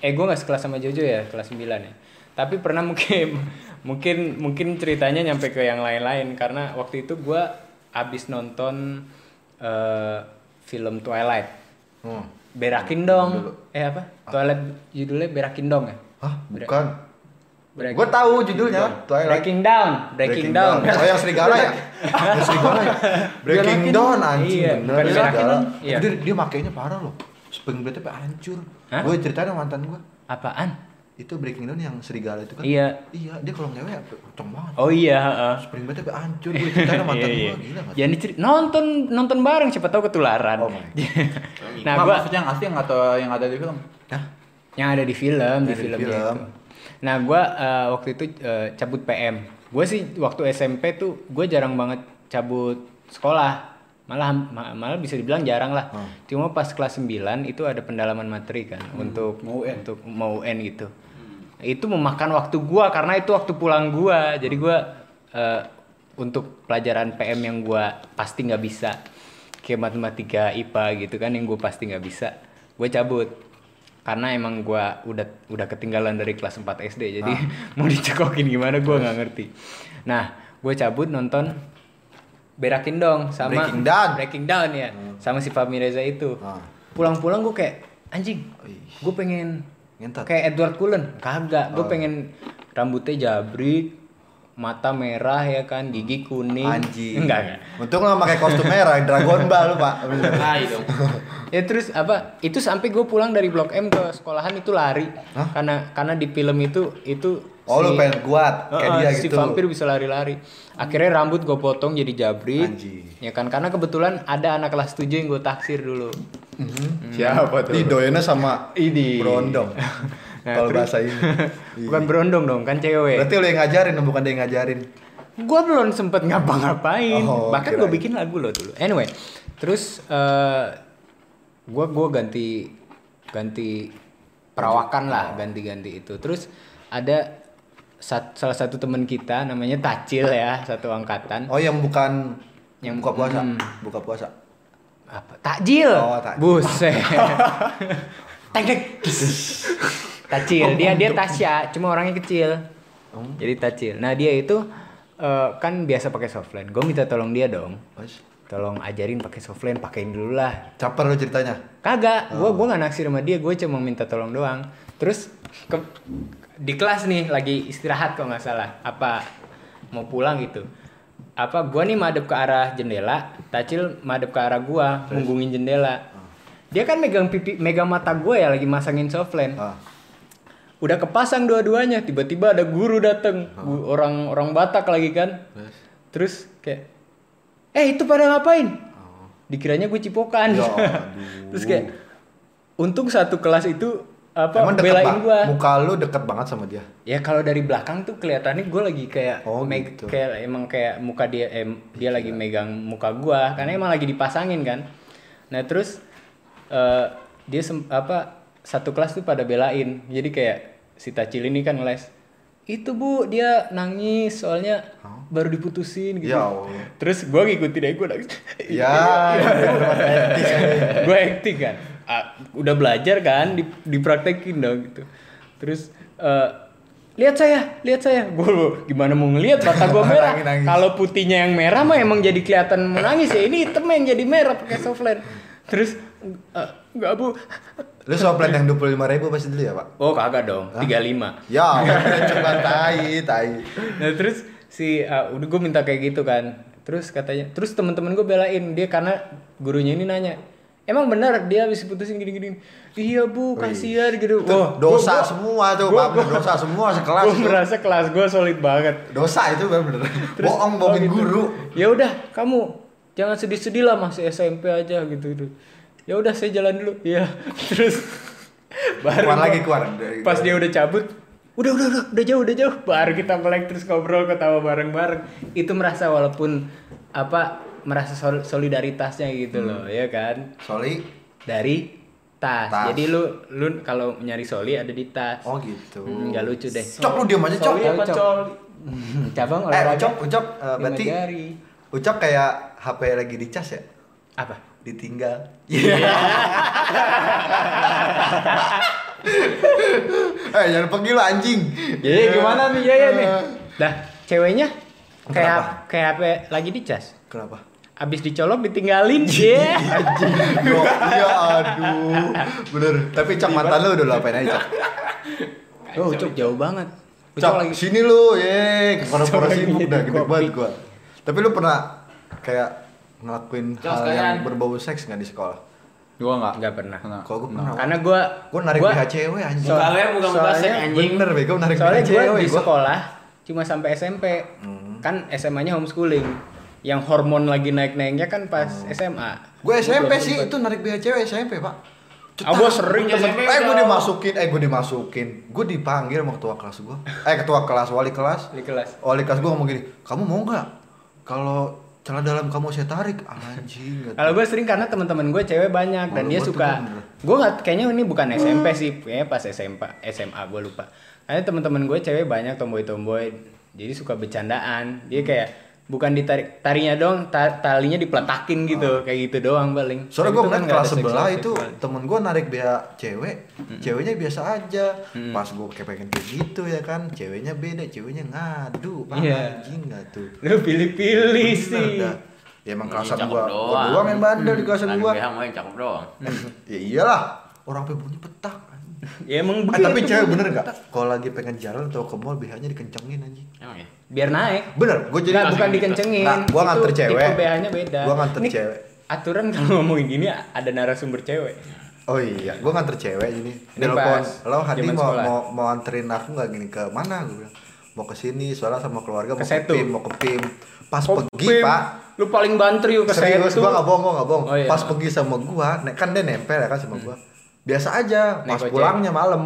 eh gue nggak sekelas sama Jojo ya, kelas 9 ya. Tapi pernah mungkin mungkin mungkin ceritanya nyampe ke yang lain-lain karena waktu itu gue abis nonton eh, film Twilight.
hmm.
Berakin dong. Eh apa? Twilight judulnya Berakin dong ya.
hah bukan
Break-
gue tahu judulnya Twilight
Breaking Down, ya, Breaking, Down.
oh yang serigala ya yang serigala ya Breaking
Berakin
Dawn
Dawn.
anjing
Iya,
bener
bukan
Yang
Berakin
serigala.
Dawn. Iya.
dia dia makainya parah loh spring blade sampai hancur
Hah?
gue ceritain sama mantan gue
Apaan?
itu Breaking Dawn yang serigala itu kan
Iya.
iya dia kalau ngewe ya kenceng banget
Oh iya, heeh.
spring blade sampai hancur gue ceritain sama mantan
Iya,
gue
iya.
gila nggak
Jangan diceri- nonton nonton bareng siapa tahu
Oh
ketularan.
my
nah,
Nah,
gua
maksudnya yang asli yang atau yang ada di film?
Hah?
yang ada di film, di
Yang ada di
filmnya
film.
itu. Nah, gua eh, waktu itu eh, cabut PM. Gue sih waktu SMP tuh gue jarang banget cabut sekolah. Malah ma- malah bisa dibilang jarang lah.
Hmm.
Cuma pas kelas 9 itu ada pendalaman materi kan untuk mau untuk mau UN gitu. Itu memakan waktu gua karena itu waktu pulang gua. Jadi gua eh, untuk pelajaran PM yang gua pasti nggak bisa kayak matematika, IPA gitu kan yang gue pasti nggak bisa. Gue cabut karena emang gua udah udah ketinggalan dari kelas 4 SD jadi
Ah.
mau dicekokin gimana gua nggak ngerti nah gue cabut nonton berakin dong sama
Breaking Dawn. Hmm.
Breaking Dawn ya sama si Fahmi Reza itu
Ah.
pulang-pulang gue kayak anjing
Ih.
gue
Oh,
pengen
iya. Ngentot. Ah.
kayak Edward Cullen kagak gue pengen rambutnya jabrik mata merah ya kan, gigi kuning.
Anjing.
Enggak, enggak.
Untung lo pakai kostum merah, Dragon Ball lu, Pak.
Hai dong.
Ya terus apa? Itu sampai gue pulang dari Blok M ke sekolahan itu lari. Karena karena di film itu itu
Oh, lu
si-
pengen kuat kayak
Heeh,
dia
si
gitu.
vampir bisa lari-lari. Akhirnya rambut gue potong jadi jabrik.
Anjing.
Ya kan karena kebetulan ada anak kelas 7 yang gue taksir dulu.
Siapa tuh? Di doyannya Hmm. sama
Ini. Nah,
Brondong. Kalau bahasa ini. Iya.
Bukan berondong dong, kan cewek.
Berarti lu yang ngajarin, bukan dia yang ngajarin.
Gue belum sempet ngapa-ngapain.
Oh,
Bahkan gue
kirain.
bikin lagu loh dulu. Anyway, terus gue gua ganti ganti perawakan lah, ganti-ganti itu. Terus ada sat- salah satu teman kita namanya Tacil ya, satu angkatan.
Oh, yang bukan yang
Yang-
buka puasa.
Hmm.
Buka puasa.
Apa? Takjil.
Oh, takjil.
Buset. Tek tek. Tacil. Dia
Oh,
dia Tasya, cuma orangnya kecil. Jadi Tacil. Nah, dia itu eh, kan biasa pakai softline. Gue minta tolong dia dong.
Wes.
Tolong ajarin pakai softline, pakein dulu lah.
Caper lo ceritanya.
Kagak, gue gua nggak naksir sama dia, gue cuma minta tolong doang. Terus ke- di kelas nih lagi istirahat kalau nggak salah, apa mau pulang gitu. Apa gua nih madep ke arah jendela, Tacil madep ke arah gua, munggungin jendela. Dia kan megang pipi, megang mata gue ya lagi masangin softline.
Ah.
Udah kepasang dua-duanya, tiba-tiba ada guru dateng, Gu- orang orang Batak lagi kan. Terus kayak, eh itu pada ngapain? Dikiranya gue cipokan.
Oh. Ya,
Terus kayak, untung satu kelas itu apa
Emang deket
belain
banget.
gue.
Muka lu deket banget sama dia.
Ya kalau dari belakang tuh kelihatannya gue lagi kayak
Oh,
meg-
gitu.
kayak emang kayak muka dia em, dia lagi megang muka gua karena emang lagi dipasangin kan. Nah, terus eh, dia sem- apa satu kelas tuh pada belain. Jadi kayak si Tacil ini kan ngeles. Itu Bu, dia nangis soalnya baru diputusin gitu.
Ya Allah.
Terus gua ngikutin aja gua nangis.
Ya,
gue acting kan Ah, udah belajar kan di, dipraktekin dong gitu terus eh, lihat saya lihat saya gue gimana mau ngelihat mata gue merah
Nangis-nangis.
kalau putihnya yang merah mah emang jadi kelihatan menangis ya ini hitamnya yang jadi merah pakai softline terus eh, nggak bu
lu soplen yang 25 ribu pasti dulu ya, Pak?
oh kagak dong 35
Ya, Allah, cuma tai, tai.
nah terus si uh, udah gue minta kayak gitu kan terus katanya terus teman-teman gue belain dia karena gurunya ini nanya emang benar dia habis putusin gini-gini iya bu kasihan gitu
Itu
wah
dosa semua tuh, Pak. Dosa semua sekelas.
gue
tuh.
merasa kelas gue solid banget
Dosa itu bener-bener.
Terus-
Bohong, bohongin
oh, gitu.
guru.
ya udah kamu jangan sedih-sedih lah masih SMP aja gitu gitu ya udah saya jalan dulu ya terus
Keluar
gua-
lagi, keluar.
pas dia udah cabut udah udah udah udah jauh udah jauh baru kita melek terus ngobrol ketawa bareng bareng itu merasa walaupun apa merasa sol- solidaritasnya gitu loh ya kan
Soli.
dari tas,
Hmm. Tas.
jadi lu lu kalau nyari soli ada di tas
Oh gitu.
Hmm, nggak lucu deh
Cok lu diam aja, Cok.
Soli apa col cabang
Eh,
olahraga
Ucok, Ucok, eh,
lima
berarti
jari.
Ucok kayak HP lagi dicas ya?
apa
Ditinggal.
Iya.
eh, jangan pergi lu anjing.
Jadi Iya, gimana nih Yaya nih? Dah, ceweknya
Kenapa?
kayak kayak HP lagi dicas.
Kenapa?
Abis dicolok ditinggalin dia.
Anjing. Yo, ya aduh. Bener. Tapi Cok mantan lu udah lu apain aja, Cok?
Oh, Ucok jauh banget. Ucok
Cok,
lagi
sini lu, ye, kepala-kepala
Cok lagi
sibuk dah,
jadi
gede
kopi.
banget gua. Tapi lu pernah kayak ngelakuin
Cok,
hal
sekalian.
yang berbau seks nggak di sekolah?
Gua enggak.
nggak pernah.
Nah.
Kalau gua pernah.
Kan
Karena gua
Gua narik
gua-
BH cewek anjing.
So-
Muka lu yang bukan muka seks
soalnya
anjing.
Bener, bego narik
Soalnya
BH
gua
cewek
di
gua. Hmm.
sekolah cuma sampai SMP. Kan SMA-nya homeschooling. Yang hormon lagi naik-naiknya kan pas
Hmm.
SMA.
Gue SMP
belum
sih
sempet.
itu narik BH cewek SMP pak.
Ah, gua sering
Gua
temen
SMP.
Eh gue
udah.
dimasukin, eh gue dimasukin, gue dipanggil sama ketua kelas gue, eh ketua kelas wali kelas,
di kelas.
wali kelas gue ngomong gini, kamu mau nggak? Kalau celana dalam kamu saya tarik, anjing. kata.
Kalau gue sering karena teman-teman gue cewek banyak dan
Kalau Oh,
dia
gua tuh
suka.
bener.
Gue nggak kayaknya ini bukan SMP sih, kayaknya pas SMP, SMA gue lupa. Karena teman-teman gue cewek banyak tomboy-tomboy, jadi suka bercandaan. Dia kayak bukan ditarik tarinya dong, talinya dipeletakin gitu, kayak gitu doang
Oh.
paling.
Soalnya
Tapi
gue
itu kan
ngeliat
nggak
kelas
ada
sebelah
seksual-
itu
seksual.
temen gue narik BH cewek, ceweknya biasa aja. Pas gue kayak pengen kayak gitu ya kan, ceweknya beda, ceweknya ngadu, Pak,
Iya.
anjing nggak tuh.
Lu pilih-pilih
Bener
sih.
dah. Ya emang
Ini
kelasan
cakep
gua, gua
doang.
doang yang bandel di kelasan
Lari
gua.
BH mah yang cakep doang.
ya iyalah orang pebunyi petak anjing.
ya emang
Eh,
begitu.
tapi cewek bener nggak? Kalau lagi pengen jalan atau ke mall BH-nya dikencengin anjing.
Emang ya?
biar naik
Bener, gue jadi
Nggak, bukan dikencengin
Nah, gua
Itu
nganter cewek.
tipe BH-nya beda
Gua nganter
Ini
cewek.
aturan kalau ngomongin gini ada narasumber cewek
Oh iya, gue nganter cewek ini.
Ini
Nelpon,
pas
lo hati
zaman
mau,
sekolah.
mau mau anterin aku nggak gini ke mana? Gue bilang mau ke sini soalnya sama keluarga mau
Ke
ke
Setu.
PIM, mau ke PIM. Pas pergi
Kopim,
pak,
lu paling banter yuk ke
serius
Setu.
gue nggak bohong, gue nggak bohong.
Oh iya. Hmm.
Pas pergi sama gue, kan dia nempel ya kan sama gue. Biasa aja.
Naik
Pas
ojek.
pulangnya malam,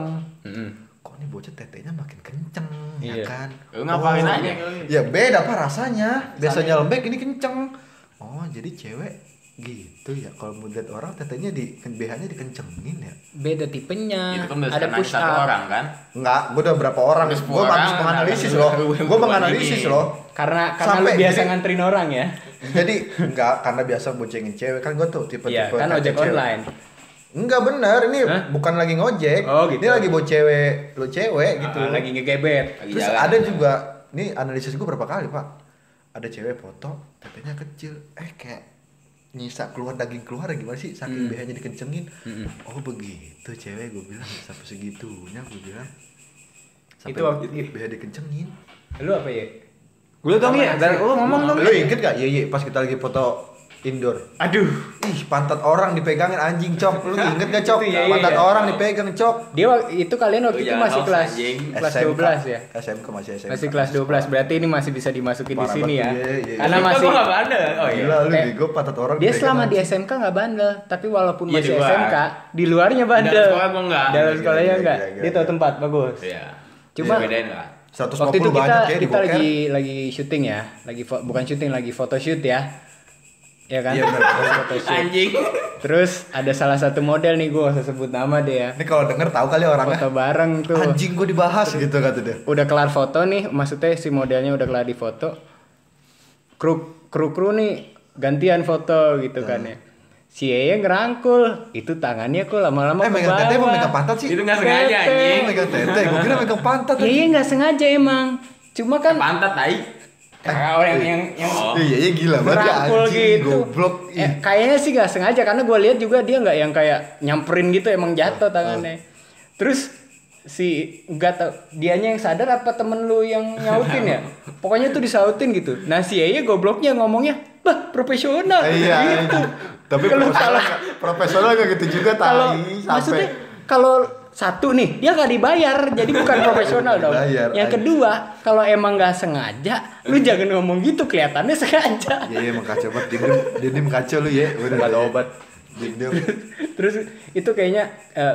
Mm-mm.
kok ini bocah tetenya makin kenceng
Hmm. Iya.
ya kan
Lu ngapain aja?
ya beda pak rasanya biasanya lembek ini kenceng oh jadi cewek gitu ya kalau mau lihat orang tetenya di BH nya dikencengin ya
beda tipenya
Itu kan
Hmm, ada
berdasarkan
push
satu
up
orang kan?
enggak gue udah berapa orang
Udah sepuluh
gue harus
orang,
menganalisis
anak-anak
loh
lu yang
gue
perempuan
menganalisis
ini.
loh
karena karena
Sampai gitu.
lu biasa
jadi-
nganterin orang ya
jadi enggak karena biasa boncengin cewek kan gue tuh tipe tipe
iya kan ojek online
enggak bener ini
Hah?
bukan lagi ngojek
Oh, gitu.
ini lagi buat cewek lo cewek gitu
Ah, lagi ngegebet
Lagi
Terus
jalan.
ada juga, ini analisis gue berapa kali pak, ada cewek foto, tetenya kecil, eh kayak nyisa keluar daging keluar ya gimana sih
Hmm.
saking BH-nya dikencengin oh begitu cewek gue bilang sampai segitunya gue bilang sampai
Itu waktu-
begitu BH dikencengin
lu apa ya
Gue dong ya, dan lu ngomong dong.
lo inget gak iya iya pas kita lagi foto indoor
aduh
ih pantat orang dipegangin anjing cok lu inget gak cok
Itu iya, iya,
pantat
iya.
orang dipegang cok
dia wak- itu kalian waktu
Lu
itu
jangan
masih
hoax,
kelas
anjing.
kelas
SMK.
12 ya
SMK masih SMK
masih kelas 12 berarti ini masih bisa dimasukin di
Parah
sini
banget,
ya
iya, iya, iya.
karena
Kita
masih
gua nggak bandel. Oh iya.
gila lu
Eh,
bego pantat orang
dia
dipegang
selama di
anjing.
SMK nggak bandel tapi walaupun
Iya, di
masih
luar.
SMK di luarnya bandel
Dalam sekolah gua nggak.
dalam
Gila,
sekolahnya
gila,
enggak
gila, gila,
dia tahu
gila.
tempat bagus
Iya.
Cuma-
bedain lah.
150
waktu itu kita
banyak ya di
kita
boker.
lagi lagi syuting ya lagi fo- bukan syuting lagi photoshoot ya ya kan
Iya, benar, benar.
photoshoot
Anjing.
terus ada salah satu model nih gue usah sebut nama dia
Ini kalau denger tahu kali orangnya.
foto bareng tuh
Anjing gue dibahas gitu kata dia.
udah kelar foto nih maksudnya si modelnya udah kelar di foto kru kru kru nih gantian foto gitu kan
Hmm.
ya si Yeye ngerangkul itu tangannya kok
eh
lama-lama ke
megang tete apa megang
bawah
pantat sih? "Eh,
Itu nggak sengaja
Tete.
anjing.
megang tete, gue kira megang pantat.
Yeye nggak sengaja emang cuma kan
Pantat tai.
Ah, orang yang yang
Oh.
Iya, iya gila banget ya
ngerangkul
anjing
gitu
goblok.
Eh,
Ih,
kayaknya sih nggak sengaja karena gue lihat juga dia nggak yang kayak nyamperin gitu
Oh,
emang jatuh tangannya terus si nggak tau dianya yang sadar apa temen lu yang nyautin ya pokoknya tuh disautin gitu nah si Yeye gobloknya ngomongnya bah profesional
Iya.
gitu
anjing. Tapi
Kalau
profesional
salah-
nggak- profesional gak gitu juga
kalau
tadi sampai
maksudnya kalau satu nih dia nggak dibayar jadi bukan profesional dong
Dibayar, anjing.
yang kedua kalau emang nggak sengaja lu jangan ngomong gitu kelihatannya sengaja
Iya, iya emang kacau banget. Dindim, dindim kacau lu ya. Udah
Gak ada obat.
Dindim.
Terus itu kayaknya eh,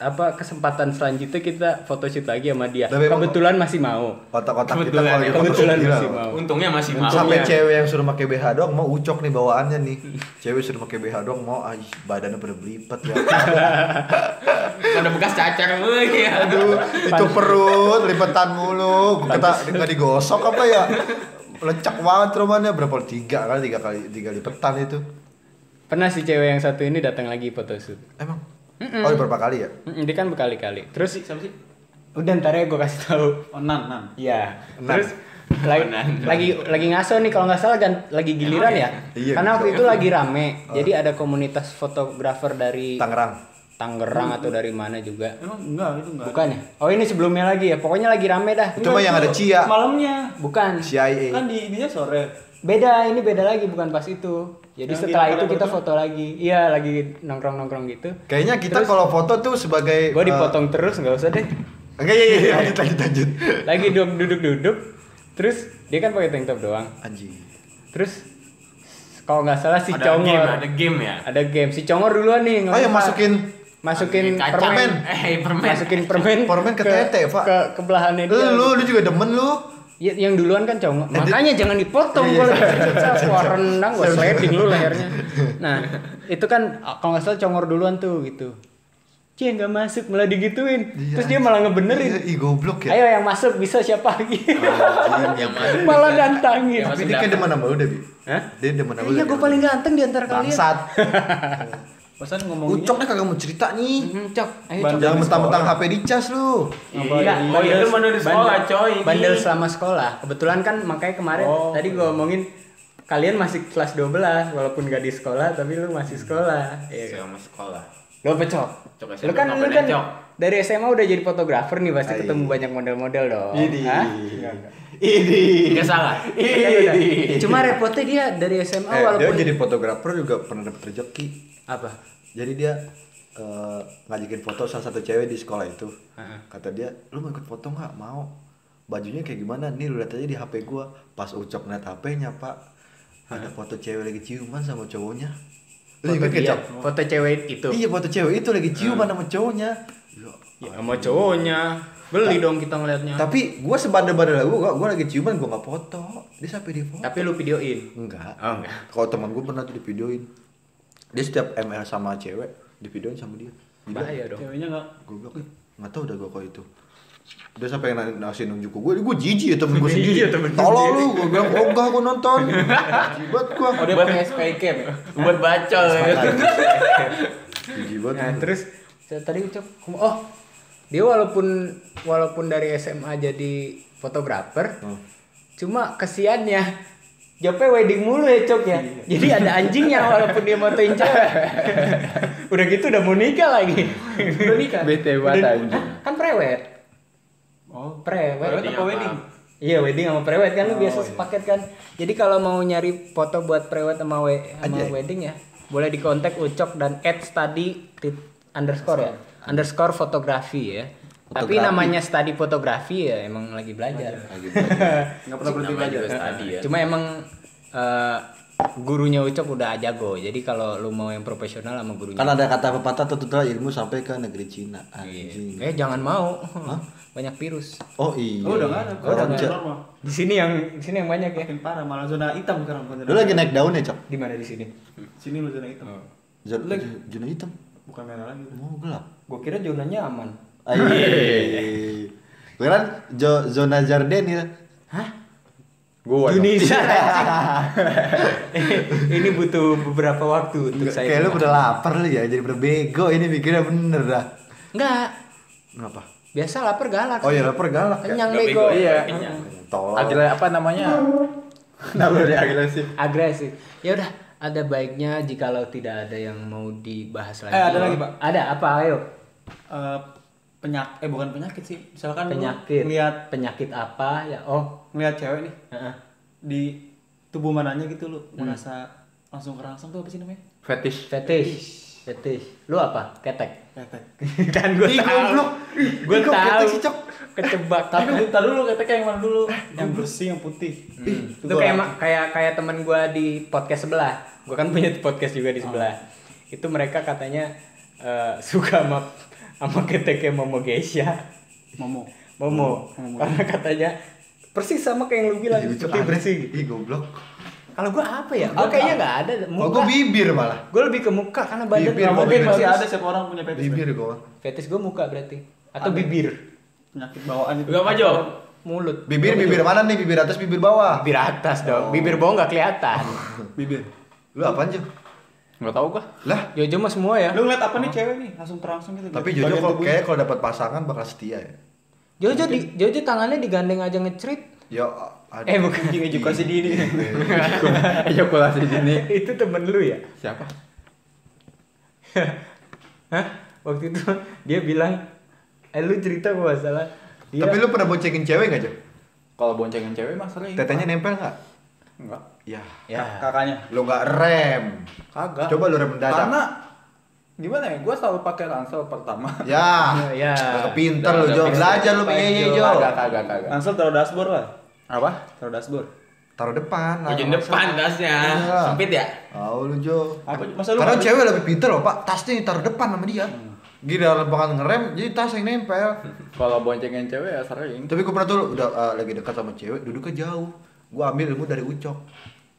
apa kesempatan selanjutnya kita photoshoot lagi sama dia.
Tapi emang-
Kebetulan masih mau.
Otak-otak kita
Kebetulan
kalau
ya,
gitu
kebetulan
gila.
masih mau.
Untungnya masih mau.
Sampai
ya.
cewek yang suruh pakai BH doang mau ucok nih bawaannya nih. Cewek suruh pakai BH doang mau ah, ih, badannya pada belipet ya.
ada bekas cacar lu ya.
Aduh, itu perut lipetan mulu. Gua Kata nggak digosok apa ya? Lecek banget rumahnya berapa tiga kali tiga kali tiga lipetan itu.
Pernah si cewek yang satu ini datang lagi photoshoot.
Emang? Oh, berapa kali ya?
Mm-mm, dia kan berkali-kali. Terus
Siapa sih?
udah ntar ya gue kasih tahu.
Oh, nan, nan.
Iya.
Enam.
Terus lagi,
Enam.
lagi lagi ngaso nih kalau nggak salah gan- lagi giliran ya.
Iya, Oh.
Karena waktu
bisa.
itu lagi rame. Jadi ada komunitas fotografer dari
Tangerang.
Tangerang
Hmm.
atau dari mana juga.
Emang enggak, itu enggak.
Bukan ya? Oh ini sebelumnya lagi ya. Pokoknya lagi rame dah.
Itu mah yang ada Cia,
Malamnya.
Bukan.
CIA.
Kan di ininya sore.
beda ini beda lagi bukan pas itu jadi
Yang di
setelah itu
kamar
kita
berdua?
foto lagi iya lagi nongkrong nongkrong gitu
Kayaknya kita kalau foto tuh sebagai
gue dipotong terus nggak usah deh
eh, Oke, iya, iya, iya, lanjut lanjut lanjut.
lagi duduk duduk duduk terus dia kan pakai tank top doang
Anjing.
terus kalau nggak salah si
ada
congor
game, ada game ya.
ada game si congor duluan nih
Oh, yang
ngelempar.
masukin
masukin
Kaca.
permen
Eh, permen.
masukin permen
Permen ke tete, Pak.
ke, ke belahannya dia
lu lu juga demen lu.
Ya, yang duluan kan congok. Makanya jangan dipotong
Iya,
gue
iya,
Wah rendang gue sliding lu lehernya. Nah itu kan kalau nggak salah congor duluan tuh gitu. Cie nggak masuk malah digituin.
Iya,
Terus dia malah
Iya,
ngebenerin.
Ih, goblok ya.
Ayo yang masuk bisa siapa lagi?
Yang
Iya.
malah nantangin.
Yang
Tapi dia
masuk
kan
dapat.
demen sama lu, Debi.
Hah?
Dia demen sama lu.
Iya gue paling ganteng di antara kalian.
bangsat.
Pesan ngomongin
Ucoknya kagak mau cerita nih.
Hmm, Cok, ayo cok.
Bandel.
Jangan mentang-mentang HP dicas lu.
Iya, oh iya lu mah dari sekolah, coy. Iya. Ini.
Bandel selama sekolah. Kebetulan kan makanya kemarin tadi gue ngomongin kalian masih kelas 12 walaupun gak di sekolah tapi lu masih sekolah. Iya kan?
Sama sekolah.
Lo pecok.
Cok
Lo kan
SMP,
lu kan
cok.
dari SMA udah jadi fotografer nih
Ah,
pasti
iya.
ketemu banyak model-model dong.
Idi.
Hah? Iya,
Idi.
Enggak salah. Iya,
Kan udah. Cuma repotnya dia dari
Oh,
SMA
Eh, dia
walaupun
jadi fotografer juga pernah dapet rezeki.
apa?
Jadi dia eh, ngajakin foto salah satu cewek di sekolah itu. Kata dia, lu mau ikut foto nggak? Mau. Bajunya kayak gimana? Nih lu lihat aja di HP gua. Pas Ucok ngeliat HP-nya, Pak. Ada foto cewek lagi ciuman sama cowoknya.
Foto,
Lu ikut
dia,
kecap?
foto cewek itu.
Iya, foto cewek itu lagi ciuman sama cowoknya. Ya,
Ya, sama cowoknya. Beli dong kita ngeliatnya.
Tapi gua sebandel-bandel gua, gua lagi ciuman gua nggak foto. Dia sampai di foto.
Tapi lu videoin.
Enggak.
Oh, enggak.
Kalau teman gue pernah tuh divideoin. Dia setiap ML sama cewek divideoin sama dia.
Bahaya dong.
Ceweknya nggak
Goblok. "Eh, Nggak tahu udah gue kok itu. Dia sampai na- nasi nunjuk ke gue, gue jijik ya temen gue sendiri. Tolong lu, gue bilang oh enggak gue nonton. Jibat gue.
Oh,
Oh,
Udah pakai spy cam. ya?
Buat bacol. gitu.
Jijik banget.
Nah, terus saya tadi ucap, oh, dia walaupun walaupun dari SMA jadi fotografer,
Hmm.
cuma kesiannya Jawabnya wedding mulu ya Cok ya. Jadi ada anjingnya walaupun dia motoin cewek. udah gitu udah mau nikah lagi. udah nikah.
Bete banget
Udah-
anjing.
Hah? Kan prewed.
Oh.
Prewed.
Wedding apa wedding?
Iya wedding sama prewed kan lu biasa sepaket kan. Jadi kalau mau nyari foto buat prewed sama, we- sama
Anjay.
wedding ya, boleh di kontak Ucok dan at study tit- underscore ya, underscore fotografi ya. Tapi
Fotografi.
namanya study fotografi ya emang lagi belajar.
Nggak pernah berhenti
Namanya
belajar.
juga tadi ya.
Cuma emang eh, gurunya Ucok udah jago. Jadi kalau lu mau yang profesional sama gurunya.
Kan ada kata pepatah tututlah ilmu sampai ke negeri Cina. Anjing.
Eh jangan mau. Banyak virus.
Oh iya.
Iya. Oh udah nggak ada.
Orang
Udah
Cina.
normal.
Di sini yang di sini yang banyak ya.
Makin parah malah zona hitam sekarang bukan
Lu
zona.
lagi naik daun ya, Cok?
Di mana di sini?
Sini lu zona hitam.
Oh.
Zon- Zona hitam.
Bukan merah lagi.
Mau gelap.
Gue kira zonanya aman.
Iya.
Ayo. Gue kan jo- zona Jarden ya.
Gua. dong.
Indonesia Ini butuh beberapa waktu untuk
Nggak,
saya.
Kayak lu udah lapar lu ya, jadi udah bego ini mikirnya bener dah.
Enggak.
Kenapa?
Biasa lapar galak.
Oh iya lapar galak ya.
Kenyang
Nggak
bego.
bego,
Iya.
kayaknya.
Tolong.
Agila apa namanya? Kenapa dia agresif?
Agresif. Ya udah, ada baiknya jikalau tidak ada yang mau dibahas lagi.
Eh, ada lagi, Pak.
Ada apa? Ayo.
Eh penyak eh bukan penyakit sih. Misalkan lu
Penyakit.
ngeliat
penyakit apa ya? Oh.
ngeliat cewek nih
heeh. Hmm.
di tubuh mananya gitu lu merasa langsung kerangsang tuh apa sih namanya?
Fetish.
Fetish. Fetish. Lu apa? Ketek.
Ketek.
kan gue
Ih,
tahu.
goblok.
Gue
Ih, goblok,
tahu.
ketek sih, Cok.
Kecebak.
Tapi tar dulu keteknya yang mana dulu?
Eh,
Hmm. Yang bersih yang putih. Ih,
itu kayak ma- kayak kayak teman gue di podcast sebelah gue kan punya podcast juga di
Ah.
sebelah itu mereka katanya eh, suka sama sama keteknya Momo Geisha
Momo.
Momo
Hmm.
karena katanya persis sama kayak yang lu bilang
Ih,
putih bersih gitu
Ih goblok.
kalau gue apa ya gue kayaknya nggak ada
Oh gue
muka
bibir malah.
gue lebih ke muka karena badan
Bibir,
nggak
Momo
mungkin
Geisha.
Masih
bagus.
ada siapa orang punya fetish.
Bibir gue.
fetis gue muka berarti atau bibir
Penyakit bawaan itu.
Enggak apa, Jok?
mulut
Bibir bibir Oh. mana nih? Bibir atas, bibir bawah.
bibir atas dong bibir bawah nggak kelihatan
Bibir.
Lu apaan Jo?
Enggak tahu gua.
Lah,
Jojo mah semua ya
Lu ngeliat apa nih cewek nih langsung kerangsang gitu.
tapi
Bagian
Jojo kalau
tubuhnya.
kayak kalau dapat pasangan bakal setia ya.
Jojo di Jojo tangannya digandeng aja ngecerit
Ya,
Eh
Iya,
bukan
Anjing edukasi dini.
Ejakulasi dini.
itu temen lu ya?
Siapa?
Hah? Waktu itu dia bilang, eh lu cerita kalau nggak salah. Dia,
Iya.
Tapi lu pernah boncengin cewek nggak Jo?
Kalau boncengin cewek mah sering. Iya.
Tetenya nempel nggak?
Enggak.
Ya.
ya.
Kakaknya.
Lu nggak rem.
Kagak.
Coba lu rem mendadak.
Karena gimana ya? Gua selalu pakai ransel pertama.
Ya.
Ya, ya.
Kagak Pinter lu Jo. Belajar lu pengen Jo.
gitu. Kagak, kagak, kagak.
Langsung taruh dashboard lah.
Apa?
Taruh dashboard.
Taruh depan. lah.
Ujung depan tasnya.
Iya.
Sempit ya?
Tahu lu Jo.
Aku masa lu
Karena
nggak-
cewek lebih pinter loh pak, tasnya ditaruh depan sama dia. Gini dalam banget ngerem, jadi tas yang nempel.
Kalau boncengin cewek ya sering.
Tapi gue pernah tuh udah eh, lagi dekat sama cewek, duduknya jauh. Gue ambil ilmu dari Ucok.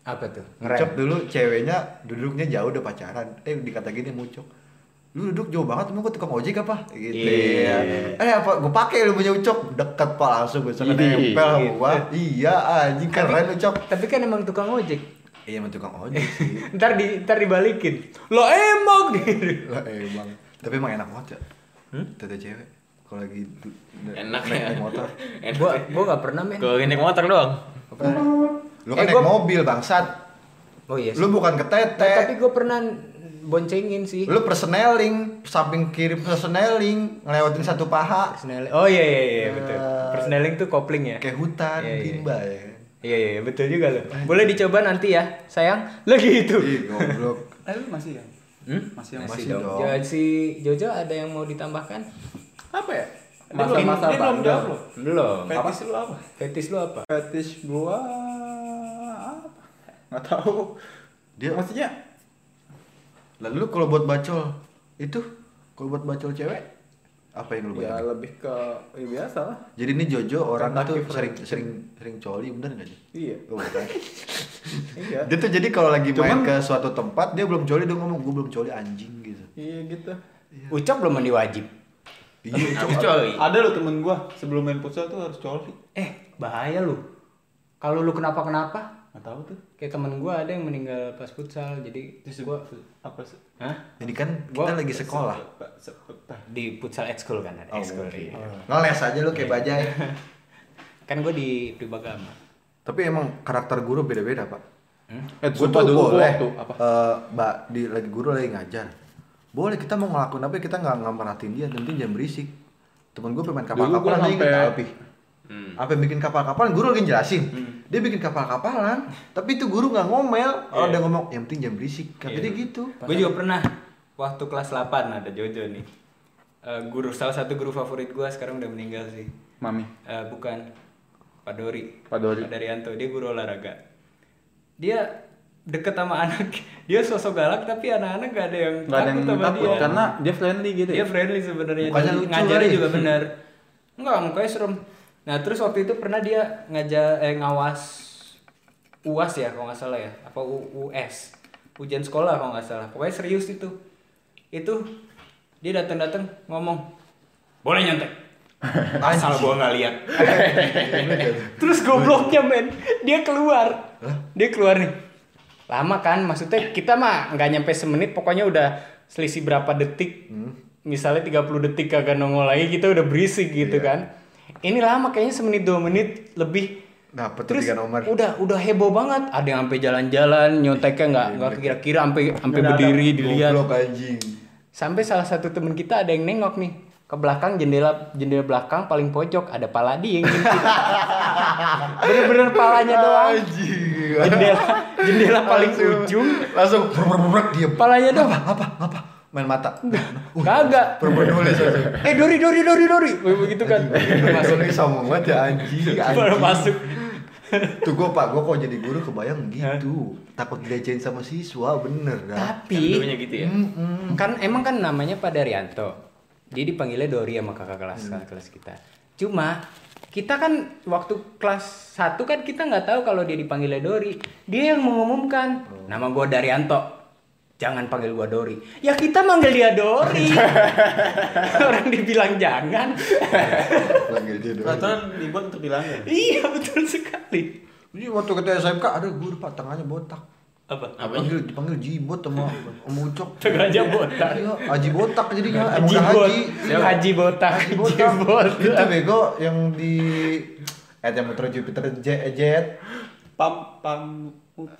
Apa tuh?
Ucok
Ngerem.
dulu ceweknya duduknya jauh udah pacaran. Eh dikata gini sama Ucok. Lu duduk jauh banget, emang gue tukang ojek apa? Gitu.
Iya.
Eh apa? Gue pakai ilmunya Ucok. Dekat pak langsung gue sana
Iya.
nempel sama gua. Iya anjing keren Ucok.
Tapi kan emang tukang ojek.
Iya emang tukang ojek sih.
Ntar di ntar dibalikin. Lo emang gitu.
Lah eh, emang. Tapi emang enak banget ya. Tete cewek kalau lagi du-
Enak
naik-
ya.
naik motor.
Enak.
gua gua nggak pernah men.
Gua naik motor doang.
Nggak pernah.
Lu kan
Eh,
naik
gua-
mobil bangsat.
Oh iya. sih.
Lu bukan
Nah, tapi
ketete.
gue pernah boncengin sih.
Lu perseneling, samping kiri perseneling, ngelewatin satu paha
Persneling. Oh iya iya iya betul. Persneling tuh kopling ya.
kayak hutan,
Iya, iya.
timba ya.
Iya iya betul juga lo. Boleh dicoba nanti ya, sayang. Lagi itu.
Ih, goblok.
Eh lu masih ya?
Hmm?
Masih yang
Masih.
masih.
dong.
Jadi si Jojo ada yang mau ditambahkan?
Apa ya?
belum-
Masa-masa
dia belum
bandel.
jawab loh.
Belum.
Fetish lu apa?
Fetis lu apa?
fetish gua apa? Nggak tahu.
Dia-
maksudnya
Lalu lu kalau buat bacol itu kalau buat bacol cewek apa yang lu
ya
bayangin?
lebih ke ya biasa lah.
Jadi ini Jojo orang tuh
Kentucky Fried
sering sering sering coli bener gak sih?
Iya.
Oh, bukan.
Iya.
dia tuh jadi kalau lagi main
Cuman-
ke suatu tempat dia belum coli dia ngomong gue belum coli anjing gitu.
Iya gitu.
Ucap belum mandi wajib.
Iya,
Habis coli.
Ada loh temen gua sebelum main futsal tuh harus coli.
Eh, bahaya lu. Kalau lu kenapa-kenapa,
Nggak tahu tuh.
kayak temen gua ada yang meninggal pas futsal. Jadi
Terus
gua
apa sih?
Hah?
Ini kan kita
Gua-
lagi sekolah.
Di futsal ekskul kan ada ekskul. iya.
Ngeles aja lu kayak bajai.
Kan gua di Pribagama.
Tapi emang karakter guru beda-beda, Pak.
Eh,
Gua
sumpah
tuh
dulu gua
boleh
waktu apa?
eh, mbak di lagi guru lagi ngajar boleh kita mau ngelakuin apa kita nggak nggak merhatiin dia nanti jangan berisik temen gue pemain
Dulu gua
kapal-kapalan dia
sampai
ingat apa apa bikin kapal-kapalan guru lagi jelasin dia bikin kapal-kapalan tapi itu guru nggak ngomel kalau dia ngomong yang penting jangan berisik tapi dia gitu
Gue juga pernah waktu kelas 8 ada Jojo nih. Eh, guru salah satu guru favorit gue sekarang udah meninggal sih.
Mami.
Eh, bukan Pak Dori.
Pak Dori.
Rianto, dia guru olahraga. Dia deket sama anak, dia sosok galak tapi anak-anak gak ada yang
Nggak ada yang
takut sama
takut
dia. Iya,
karena dia friendly gitu
Dia
ya.
friendly sebenarnya.
Mukanya
Jadi
lucu
Ngajarin
kali.
juga bener. Enggak, mukanya serem. Nah, terus waktu itu pernah dia ngajar eh ngawas UAS ya kalau nggak salah ya, apa U- US. Ujian sekolah kalau nggak salah. Pokoknya serius itu. Itu dia datang-datang ngomong, "Boleh nyontek." Asal gua nggak lihat. Terus gobloknya men, dia keluar. Dia keluar nih. Lama kan, maksudnya kita mah nggak nyampe semenit, pokoknya udah selisih berapa detik.
Hmm.
Misalnya 30 detik kagak nongol lagi, kita udah berisik gitu
Iya.
kan. Ini lama kayaknya semenit dua menit lebih.
nah petu
Terus
tiga nomor
udah udah heboh banget. Ada yang sampai jalan-jalan,
Iya,
nyonteknya nggak nggak kira-kira sampai sampai berdiri dilihat.
goblok anjing
Sampai salah satu temen kita ada yang nengok nih ke belakang jendela jendela belakang paling pojok ada pala dia yang ngintip. Bener-bener palanya doang.
anjing
Jendela jendela paling
Langsung-
ujung
langsung berberak dia
palanya doang.
apa Ah, apa apa main mata
Kagak.
berberak nulis langsung.
Eh Dori Dori Dori Dori begitu kan. Baru masuk.
Masuk sama banget ya anjing,
Baru
anjing.
masuk.
Tuh gue pak, gue kok jadi guru kebayang gitu Takut dilecehin sama siswa, bener dah
Tapi
Dulunya gitu ya.
Hmm.
kan emang kan namanya Pak Daryanto dia dipanggilnya Dori sama kakak kelas kakak kelas kita cuma kita kan waktu kelas 1 kan kita nggak tahu kalau dia dipanggilnya Dori dia yang mengumumkan nama gua Daryanto jangan panggil gua Dori ya kita manggil dia Dori orang dibilang jangan
Panggil dia dulu
Peraturan dibuat untuk bilangnya.
iya betul sekali
Jadi waktu kita SMK ada guru pak, tangannya botak
apa
Dipanggil, dipanggil jibot sama sama ucok
sengaja botak
Iya, haji botak jadinya, emang
haji
udah
bot
haji Iya.
haji botak
Haji
haji
botak, itu
botak
bego yang di... Eh, yang muter Jupiter jet, jet
Pam pam.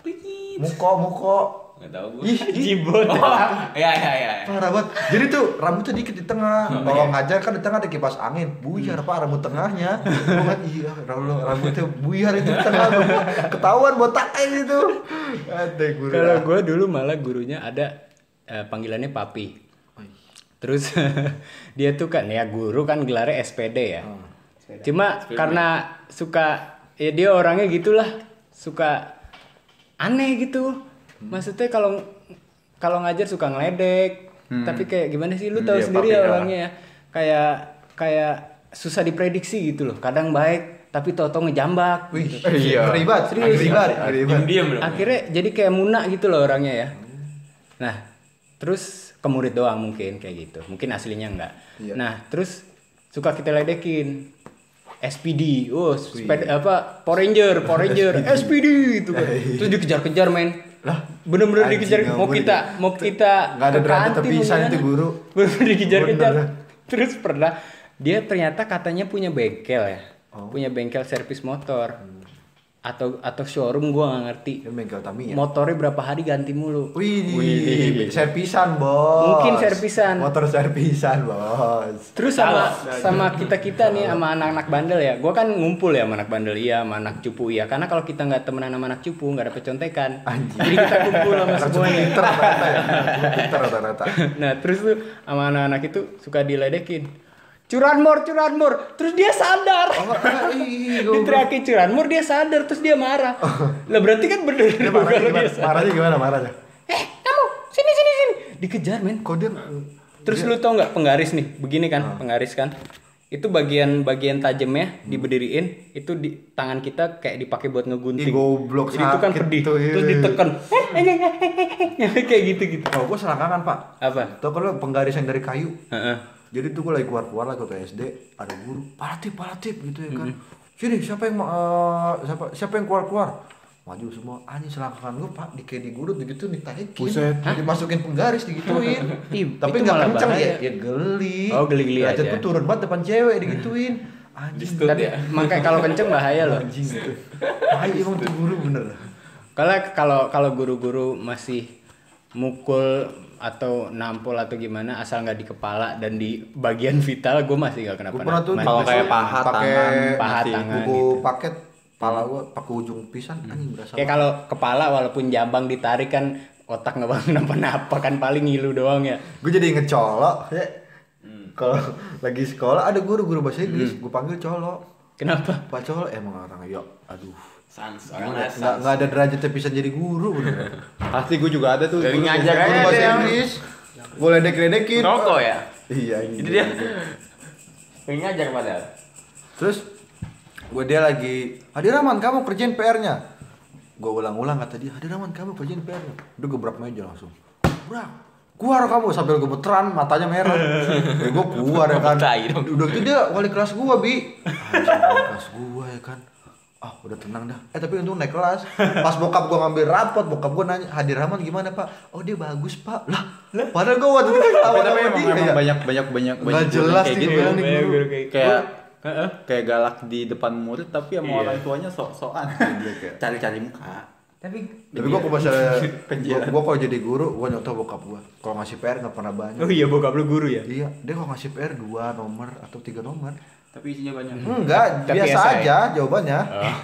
Prit.
muko, muko
Nggak tahu gue.
Ih,
haji botak
Ya ya ya.
parah banget jadi tuh rambutnya dikit di tengah kalau ngajar kan di tengah ada kipas angin buyar pak rambut tengahnya Gua kan iya rambut rambutnya buyar itu di tengah ketahuan botaknya gitu ada guru
Kalau gue dulu malah gurunya ada eh, panggilannya papi. Terus dia tuh kan ya guru kan gelarnya SPD ya. Cuma karena suka ya dia orangnya gitulah suka aneh gitu. Maksudnya kalau kalau ngajar suka ngeledek. Tapi kayak gimana sih lu tahu
Iya,
sendiri
papi
ya
ya.
orangnya ya. Kayak kayak susah diprediksi gitu loh. Kadang baik tapi toto ngejambak.
wih
gitu.
iya ngeri banget
Serius.
ngeri banget ngeri banget.
Diam dong.
Akhirnya jadi kayak muna gitu loh orangnya ya. Nah, terus ke murid doang mungkin kayak gitu. Mungkin aslinya enggak.
Iya.
Nah, terus suka kita ledekin. SPD, oh, sped- apa Power Ranger, Power Ranger, SPD itu kan. Terus dikejar-kejar men. Lah, bener-bener
Iya. anjing,
dikejar
nggak
mau
boleh.
kita mau kita
Nggak ada
ke
derajat
kantin,
terpisah
mau
itu
gimana.
guru.
Bener-bener dikejar-kejar.
Bener.
Terus pernah
Oh. Hmm.
dia ternyata katanya punya bengkel ya. Punya bengkel servis motor. atau atau showroom gua nggak ngerti
Dia megang Tamiya.
motornya berapa hari ganti mulu
Wih, servisan bos.
Mungkin servisan.
Motor servisan bos.
terus sama sama kita kita nih sama anak-anak bandel ya gua kan ngumpul ya sama anak bandel iya sama anak cupu iya karena kalau kita nggak temenan sama anak cupu nggak ada pecontekan jadi kita kumpul sama
Langsung
semuanya
pinter rata-rata ya. Pinter rata-rata.
nah terus tuh sama anak-anak itu suka diledekin curanmor curanmor terus dia sadar
Oh, enggak, ih, goblok.
diteriakin curanmor dia sadar terus dia marah lah berarti kan bener
Oh. Dia
dong
marahnya
kalau
gimana?
dia sadar.
Marahnya gimana? Marahnya?
eh kamu sini sini sini dikejar men
Kok dia
terus lu tau nggak penggaris nih begini
Ah.
kan penggaris kan itu bagian bagian tajamnya diberdiriin itu di tangan kita kayak dipakai buat
Ih,
ngegunting
goblok,
jadi itu kan
sakit
pedih
tuh, iya.
terus ditekan kayak gitu gitu
Oh, gua selangkangan, Pak.
apa
Tau kalau penggaris yang dari kayu.
Heeh.
Jadi tuh gue lagi keluar-keluar lagi waktu SD, ada guru, palatip, palatip gitu ya kan. Sini siapa yang mau eh, siapa siapa yang keluar-keluar? Maju semua, anjing selangkangan gue pak, di kayak digurut begitu ditarik,
Buset.
dimasukin penggaris digituin.
Ih,
Tapi
itu
nggak
malah
kenceng ya,
bahaya.
ya geli.
Oh, geli-geli
Derajat
aja.
gua turun banget depan cewek digituin. Anjing,
Distut
Tapi
ya.
makanya kalau kenceng bahaya loh.
anjing gitu. Tai emang tuh guru bener.
Kalau kalau kalau guru-guru masih mukul atau nampol atau gimana asal nggak di kepala dan di bagian vital gue masih nggak kenapa
Gue pernah tuh
Kalau
masih
kayak paha,
pakai-
tangan,
paha,
masih
tangan
buku
gitu.
paket pala gue pakai ujung pisan
Hmm.
anjing berasa.
kayak kalau kepala walaupun jambang ditarik kan otak nggak bakal kenapa-napa kan paling ngilu doang ya
gue jadi inget colok ya.
Hmm.
kalau lagi sekolah ada guru guru
Hmm.
bahasa Inggris gue panggil colok
kenapa
pak colok emang orang ya aduh
Sans, orang
nggak
sans.
nggak- nggak ada derajat terpisah jadi guru bener
Pasti gue juga ada tuh. Iya.
Dari
dulu.
ngajar
guru
aja
bahasa
dia yang
Inggris boleh dek ledekin
rokok ya.
iya gitu.
Jadi dia pengen ngajar padahal.
terus gue dia lagi Hadiraman kamu kerjain PR-nya gue ulang-ulang kata dia Hadiraman kamu kerjain PR-nya udah gebrak meja langsung gebrak keluar kamu sambil gemeteran matanya merah ya gue keluar ya kan
Tai dong.
udah itu dia wali kelas gue bi Anjing, wali kelas gue ya kan ah udah tenang dah eh tapi untung naik kelas pas bokap gue ngambil rapot bokap gue nanya Hadiraman gimana pak oh dia bagus pak lah padahal gue waktu itu
Tapi
ketawa
tapi
sama
emang,
dia
emang
ya.
banyak banyak banyak
Nggak
banyak guru
jelas
kayak
sih
gitu.
gua bilang nih guru.
Kayak kayak galak di depan murid tapi sama orang tuanya sok-sokan. Cari-cari muka.
tapi
Tapi gua kalau masalah
Penjilat.
gua, gua kalau jadi guru, gua nyontoh bokap gua. Kalau ngasih PR nggak pernah banyak.
oh iya bokap lu guru ya
Iya, dia kalau ngasih PR dua nomor atau tiga nomor.
Tapi isinya banyak.
Enggak,
Tapi ya? Oh.
biasa
esai.
aja jawabannya.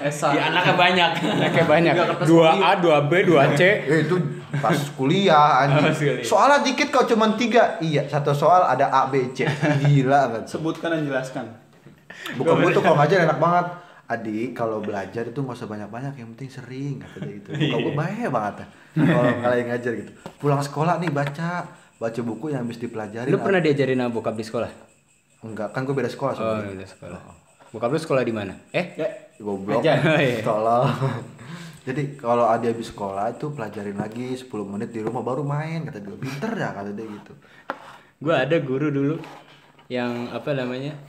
Esa.
Ya anaknya banyak.
kayak banyak 2A 2B 2C
Eh, itu pas kuliah
Oh, Pas
anjing.
kuliah.
Soalnya dikit kok cuman tiga. Iya, satu soal ada A B C. Gila kan.
Sebutkan dan jelaskan.
Bukan gua tuh kalau ngajar enak banget. Adik, kalau belajar itu nggak usah banyak-banyak, yang penting sering kata dia gitu.
Iya.
Bukan gue bahaya banget ya. Kalau kalian ngajar gitu. Pulang sekolah nih baca, baca buku yang habis dipelajari.
lu pernah diajarin sama bokap di sekolah
Enggak, kan gue beda sekolah
oh
sebenarnya.
udah sekolah bokap lu sekolah di mana eh
Ya, Goblok.
Aja. Oh, iya.
Tolong. Jadi kalau ada habis sekolah itu pelajarin lagi 10 menit di rumah baru main kata dia. Pinter ya kata dia gitu.
gue ada guru dulu yang apa namanya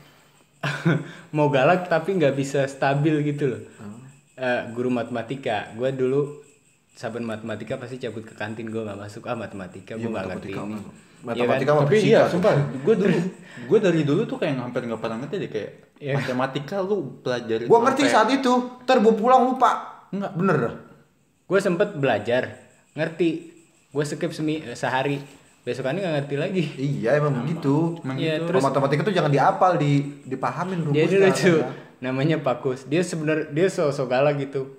mau galak tapi nggak bisa stabil gitu loh
Oh.
Eh, guru matematika gue dulu saben matematika pasti cabut ke kantin gue nggak masuk ah matematika gue
Iya,
nggak ngerti
matematika.
ini
Matematika
Iya kan?
mah
Tapi
fisika
iya,
tuh.
sumpah. Gue dulu gue dari dulu tuh kayak hampir nggak pernah ngerti deh kayak
Iya.
matematika lu pelajari.
Gua ngerti
sampai-
saat itu, ter gua pulang lupa.
Enggak.
Bener dah.
gue sempet belajar ngerti gue skip semi eh, sehari besokannya nggak ngerti lagi
Iya emang begitu.
Iya,
Kalau
terus-
matematika tuh jangan diapal, di dipahamin
dia
rumusnya.
ini lucu
kan, ya.
namanya Pakus dia sebenar dia sosok galak gitu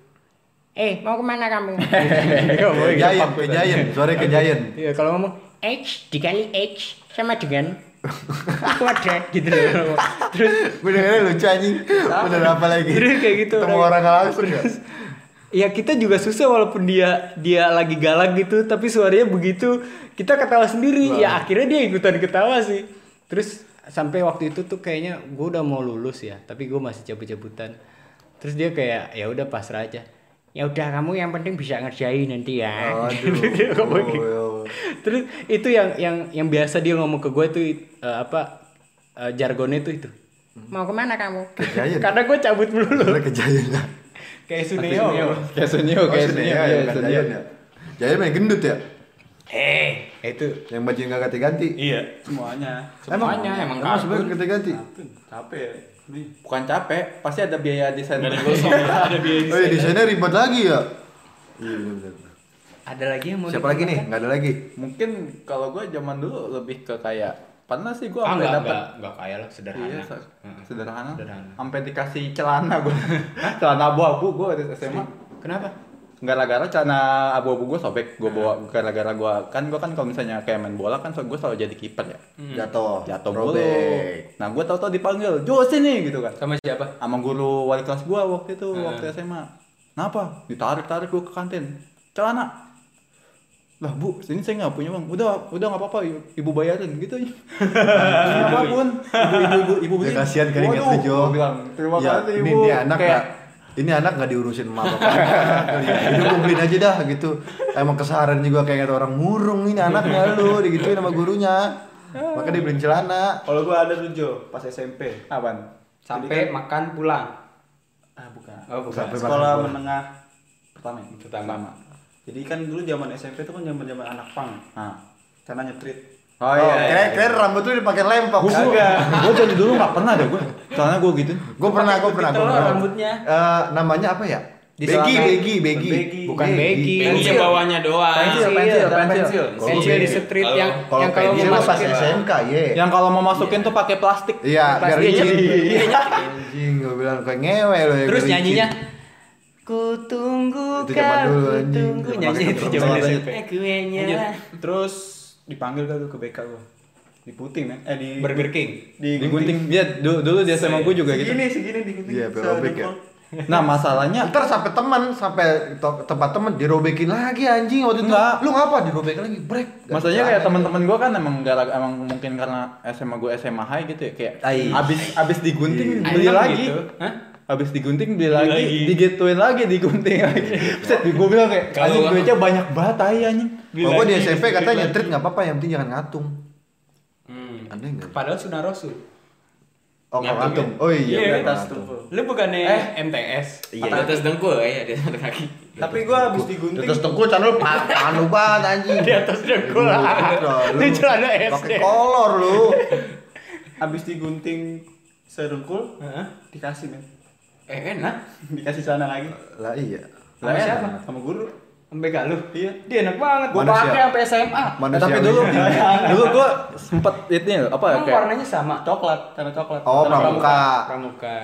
Eh, mau kemana kamu?
Dia ngomongnya gitu,
Kejayen,
Pakus.
kejayen, sore kejayen.
Iya kalau ngomong
X dikali X sama dengan
kuadrat gitu loh. Terus
Gue dengernya lucu anjing. Bener apa lagi?
Terus kayak gitu
Ketemu
orang.
orang langsung ya.
ya kita juga susah walaupun dia dia lagi galak gitu tapi suaranya begitu kita ketawa sendiri ya akhirnya dia ikutan ketawa sih terus sampai waktu itu tuh kayaknya gue udah mau lulus ya tapi gue masih cabut-cabutan terus dia kayak ya udah pasrah aja
ya udah kamu yang penting bisa ngerjain nanti ya.
Aduh.
Dia ngomong
Oh,
gitu.
ya Allah.
terus itu yang yang yang biasa dia ngomong ke gue tuh eh, apa eh, jargonnya tuh itu
Mau kemana kamu?
Kejayen.
karena gue cabut melulu
Iya, Karena kejayen ya.
kayak Suneo
Kayak Sunio,
Oh,
kayak
Suneo
Sunio,
ya,
iya,
bukan
Sunio.
Jayan ya. Jayan main gendut ya?
Eh,
itu
Yang bajunya nggak ganti-ganti.
iya
semuanya
semuanya emang,
emang
kartun.
sebenarnya ganti-ganti.
Kartun. capek ya nih
Bukan capek, pasti ada biaya desain.
Dari gosong ada biaya
Oh iya desainnya ribet lagi ya. Iya benar.
ada lagi yang mau
Siapa lagi nih? Nggak ada lagi.
Mungkin kalau gue zaman dulu lebih ke kayak pernah sih gue
ah
sampai
nggak
dapat
nggak nggak kaya lah sederhana
Iya, se-
Heeh.
sederhana.
Sederhana.
Sampai dikasih celana gue. celana abu-abu gue dari SMA.
kenapa
Gara-gara celana abu-abu gue sobek, gue bawa gara-gara gue kan gue kan kalau misalnya kayak main bola kan so, gue selalu jadi kiper ya.
Hmm.
Jatuh.
Jatuh mulu.
Robek.
Nah gue tau-tau dipanggil, Jo sini gitu kan.
sama siapa
Sama guru wali kelas gue waktu itu waktu SMA. Kenapa? Ditarik-tarik gue ke kantin. Celana. Lah bu, sini saya nggak punya bang. Udah, udah nggak apa-apa, i- ibu bayarin gitu aja. Apapun, ibu ibu ibu ibu
Ya
beliin.
kasihan kali nggak
Iya, Waduh,
setuju.
gua bilang, Terima
Ya,
kasih
ini,
ibu.
ini anak
Kayak,
nggak- ini anak nggak diurusin sama bapak. Iya, Ini gue beliin aja dah gitu. Emang keseharian juga kayak kata orang murung ini anaknya lu digituin sama gurunya. Maka dia beliin celana.
kalau gua ada tuh Jo pas SMP
Apaan?
sampai makan pulang
kan- ah bukan
oh bukan
Sampai
sekolah
makan.
menengah pertama ya?
pertama
jadi kan dulu zaman SMP itu kan zaman zaman anak pang Kan
Ah.
karena nyetrit
Oh,
Oh, iya.
keren keren rambut lu dipakai lempok.
Gue gue dari dulu nggak pernah ada gue. Soalnya gue gitu.
Gue pernah, gue pernah, gue pernah.
rambutnya.
Eh, namanya apa ya? Begi, begi, begi.
Begi.
Bukan begi.
Pensil bawahnya doang.
Pensil, pensil, pensil.
Pensil di street
Kalau-
yang
Kalau
yang kalau
pensil
mau
mah pas
masukin
SMK, ye.
Yang kalau mau masukin tuh pakai plastik.
Iya, biar
Pasti
licin.
jadi.
Anjing, gue bilang kayak ngewe lo ya.
terus
biar licin.
nyanyinya
Ku tunggu
Itu zaman dulu,
kau, ku
anjing.
tunggu
Zaman
nyanyi
pakai
itu
drum
zaman
solo.
SMP. Aku
Iya.
nyala.
Terus dipanggil kan gua ke BK gua. Diputing kan? Eh di
Burger King
Digunting. Dia du- dulu dia sama gue juga gitu.
Segini segini digunting.
Iya, biar robek ya.
Nah masalahnya
Ntar sampai teman, sampai to- tempat teman dirobekin lagi anjing waktu itu.
Enggak.
Lu ngapa dirobekin lagi? Break.
Maksudnya kayak teman-teman gue kan emang gara emang mungkin karena SMA gue SMA high gitu ya kayak
Ai.
abis abis digunting
Ai.
beli
Emang
lagi,
gitu? Hah?
abis digunting beli lagi, digituin lagi digunting
Iya.
lagi. Set gue bilang kayak
Kalau-
anjing duitnya banyak banget tai anjing.
Kalau gue di SMP katanya nyetrit nggak apa-apa, yang penting jangan ngatung.
Hmm.
Aneh nggak?
Padahal sunah rasul.
Oh, kalau ngatung. Oh iya,
Iya,
bener,
Atas
ngatung.
tumpul.
Lu bukannya
Eh,
MTS?
Iya. Di atas dengkul kayaknya di atas kaki.
Tapi gua habis
Di
digunting.
atas tengkul channel panu banget anjing. Di atas tengkul. Lu celana SD. Pakai kolor lu.
Habis digunting serengkul, dikasih men.
Eh enak.
Dikasih celana lagi.
Lah iya.
Sama siapa?
Sama guru.
Sampai gak lu?
Iya.
Dia enak banget. Gua
Manusia.
pakai sampai SMA.
Nah,
Manusia.
tapi dulu dulu gue sempet itu apa ya
Emang
kayak
warnanya sama.
Coklat, celana coklat.
Oh,
Celana
pramuka.
Pramuka.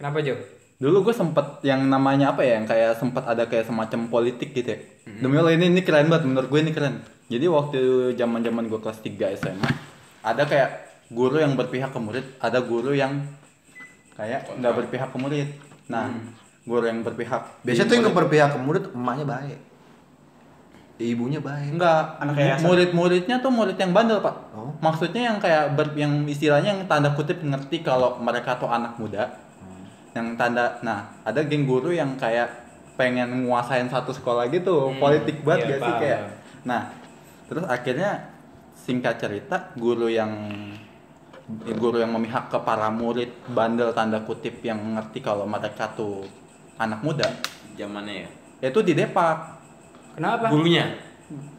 Kenapa, Jo?
dulu gue sempet yang namanya apa ya yang kayak sempet ada kayak semacam politik gitu ya
Mm-hmm.
demi Allah ini ini keren banget menurut gue ini keren jadi waktu zaman zaman gue kelas 3 SMA ada kayak guru yang berpihak ke murid ada guru yang kayak nggak berpihak ke murid nah guru yang berpihak
Mm-hmm. Biasanya tuh yang berpihak ke murid emaknya baik. Ibunya baik.
enggak
Anak yayasan.
murid-muridnya tuh murid yang bandel pak
Oh.
maksudnya yang kayak ber, yang istilahnya yang tanda kutip ngerti kalau mereka tuh anak muda yang tanda nah ada geng guru yang kayak pengen nguasain satu sekolah gitu
Hmm, iya,
politik banget gak sih
paham.
kayak nah terus akhirnya singkat cerita guru yang guru yang memihak ke para murid bandel tanda kutip yang ngerti kalau mereka tuh anak muda
Zamannya ya.
itu di Depak
Kenapa?
Gurunya.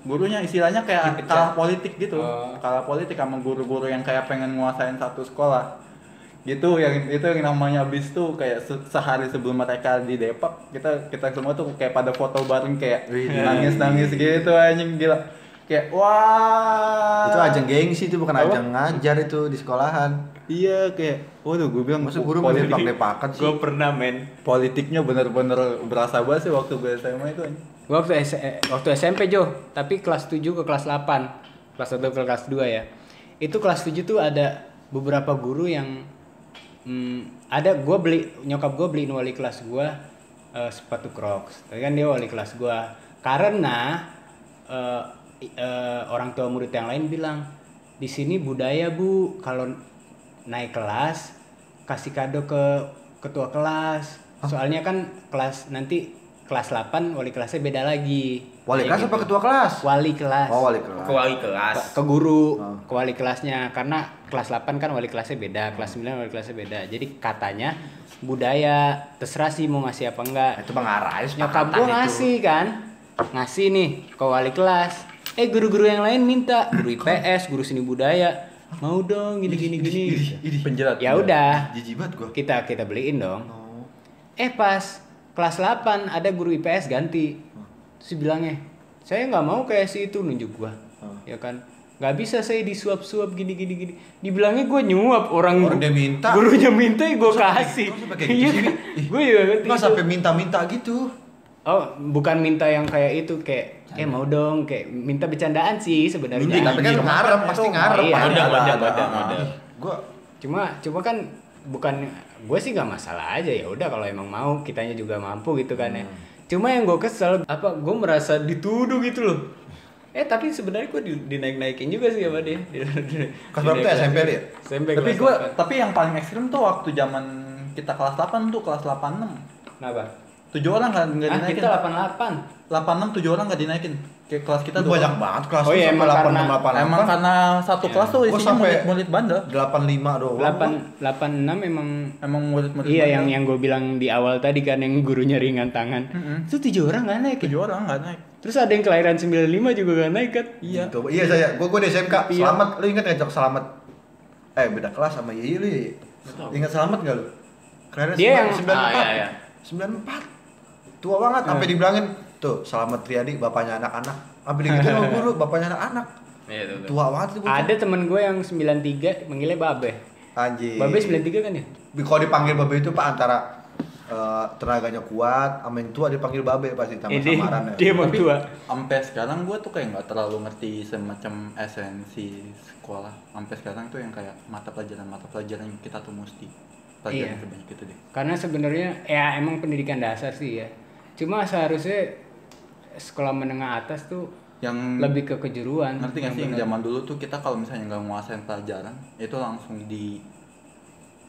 gurunya istilahnya kayak
Dipecat.
kalah politik gitu
Oh.
kalah politik sama guru-guru yang kayak pengen nguasain satu sekolah gitu yang itu yang namanya bis tuh kayak se- sehari sebelum mereka di Depok kita kita semua tuh kayak pada foto bareng kayak
Wih.
nangis nangis gitu anjing gila kayak wah
Itu ajang gengsi itu bukan
Ah. Apa?
ajang ngajar itu di sekolahan.
iya kayak waduh gue bilang
Masa
"Oh,
guru mau
politik-
depak-depakan sih?
pernah, men.
politiknya bener-bener berasa banget sih waktu gue SMA itu anjing
Gua waktu, S- eh, waktu SMP, Jo. Tapi kelas 7 ke kelas 8. Kelas 1 ke kelas 2 ya. Itu kelas 7 tuh ada beberapa guru yang... hmm, ada gua beli nyokap gua beliin wali kelas gua eh, sepatu Crocs. Tapi kan dia wali kelas gua karena eh, i- eh, orang tua murid yang lain bilang di sini budaya Bu kalau naik kelas kasih kado ke ketua kelas.
Oh.
Soalnya kan kelas nanti kelas 8 wali kelasnya beda lagi. Kayak
Wali kelas
gitu.
apa ketua kelas?
Wali kelas
Oh, wali kelas.
Ke wali kelas.
ke guru
Oh.
ke wali kelasnya karena kelas 8 kan wali kelasnya beda
Oh.
kelas 9 wali kelasnya beda jadi katanya budaya terserah sih mau ngasih apa enggak
Itu Bang Arais.
nyokap
pakatan
gue
itu.
ngasih kan ngasih nih ke wali kelas eh guru-guru yang lain minta guru IPS guru seni budaya mau dong gini gini gini
Penjerat.
ya udah
Jijik banget gua.
kita kita beliin dong eh pas kelas 8 ada guru IPS ganti terus dia bilangnya saya nggak mau kayak si itu nunjuk gua ya kan nggak bisa saya disuap-suap gini gini gini dibilangnya gua nyuap orang,
Orang dia minta.
gurunya minta ya gua kasih
Masa pakai gitu
iya
sih?
kan? gua juga ngerti
Enggak
itu.
sampai minta-minta gitu.
oh bukan minta yang kayak itu kayak eh mau dong kayak minta bercandaan sih
Iya,
sebenarnya
Tapi kan ngarep, pasti ngarep.
Iya.
Ada, ada, ada,
ada.
Gua
cuma cuma kan bukan gue sih gak masalah aja ya udah kalau emang mau kitanya juga mampu gitu kan
Hmm.
ya cuma yang gue kesel apa gue merasa dituduh gitu loh eh tapi sebenarnya gue dinaik naikin juga sih sama dia
Kelas berapa
Iya,
tuh? SMP lu ya?
SMP
Tapi
kelas
gua
delapan.
tapi yang paling ekstrim tuh waktu zaman kita kelas 8 tuh kelas 86.
kenapa
Tujuh orang nggak nggak
ah
dinaikin.
kita 88
86 tujuh orang nggak dinaikin. Kayak kelas kita
Itu
dua
banyak
orang.
banget kelas
Oh iya, emang karena-
Emang karena
Iya.
satu kelas tuh
Gua
isinya
sampai-
murid-murid bandel.
85 doang.
delapan delapan enam emang
Emang murid-murid
iya
bandel.
yang yang gue bilang di awal tadi kan yang gurunya ringan tangan
Mm-mm.
itu tujuh orang gak naik ya?
tujuh orang nggak naik.
terus ada yang kelahiran 95 juga gak naik kan
Iya.
Gitu. Iya saya, gua gua di SMK.
Iya.
Selamat, lu ingat enggak Cok Selamat? Eh, beda kelas sama Yeyi lu. Yeyi. Ingat Selamat enggak lu? Karena
Dia yang- Iya.
Ah, iya, iya.
94. 94. Tua banget sampai dibilangin, tuh Selamat Triadi bapaknya anak-anak. Sampai digitu sama guru bapaknya anak-anak.
Iya, itu. tuh.
Tua banget itu gua.
ada temen gue yang 93 manggilnya babe
Iya.
Anjir.
babe 93 kan ya
Kalau dipanggil babe itu pak antara eh, tenaganya kuat, sama yang tua dipanggil babe pasti sama
Eh, dia,
samaran ya.
dia emang
Tapi
tua.
Sampai sekarang gue tuh kayak nggak terlalu ngerti semacam esensi sekolah. Sampai sekarang tuh yang kayak mata pelajaran mata pelajaran yang kita tuh mesti
Iya.
pelajaran sebanyak itu deh.
Karena sebenarnya ya emang pendidikan dasar sih ya. Cuma seharusnya sekolah menengah atas tuh
Yang
lebih ke kejuruan.
Hmm. ngerti nggak sih yang
bener.
zaman dulu tuh kita kalau misalnya nggak nguasain pelajaran itu langsung di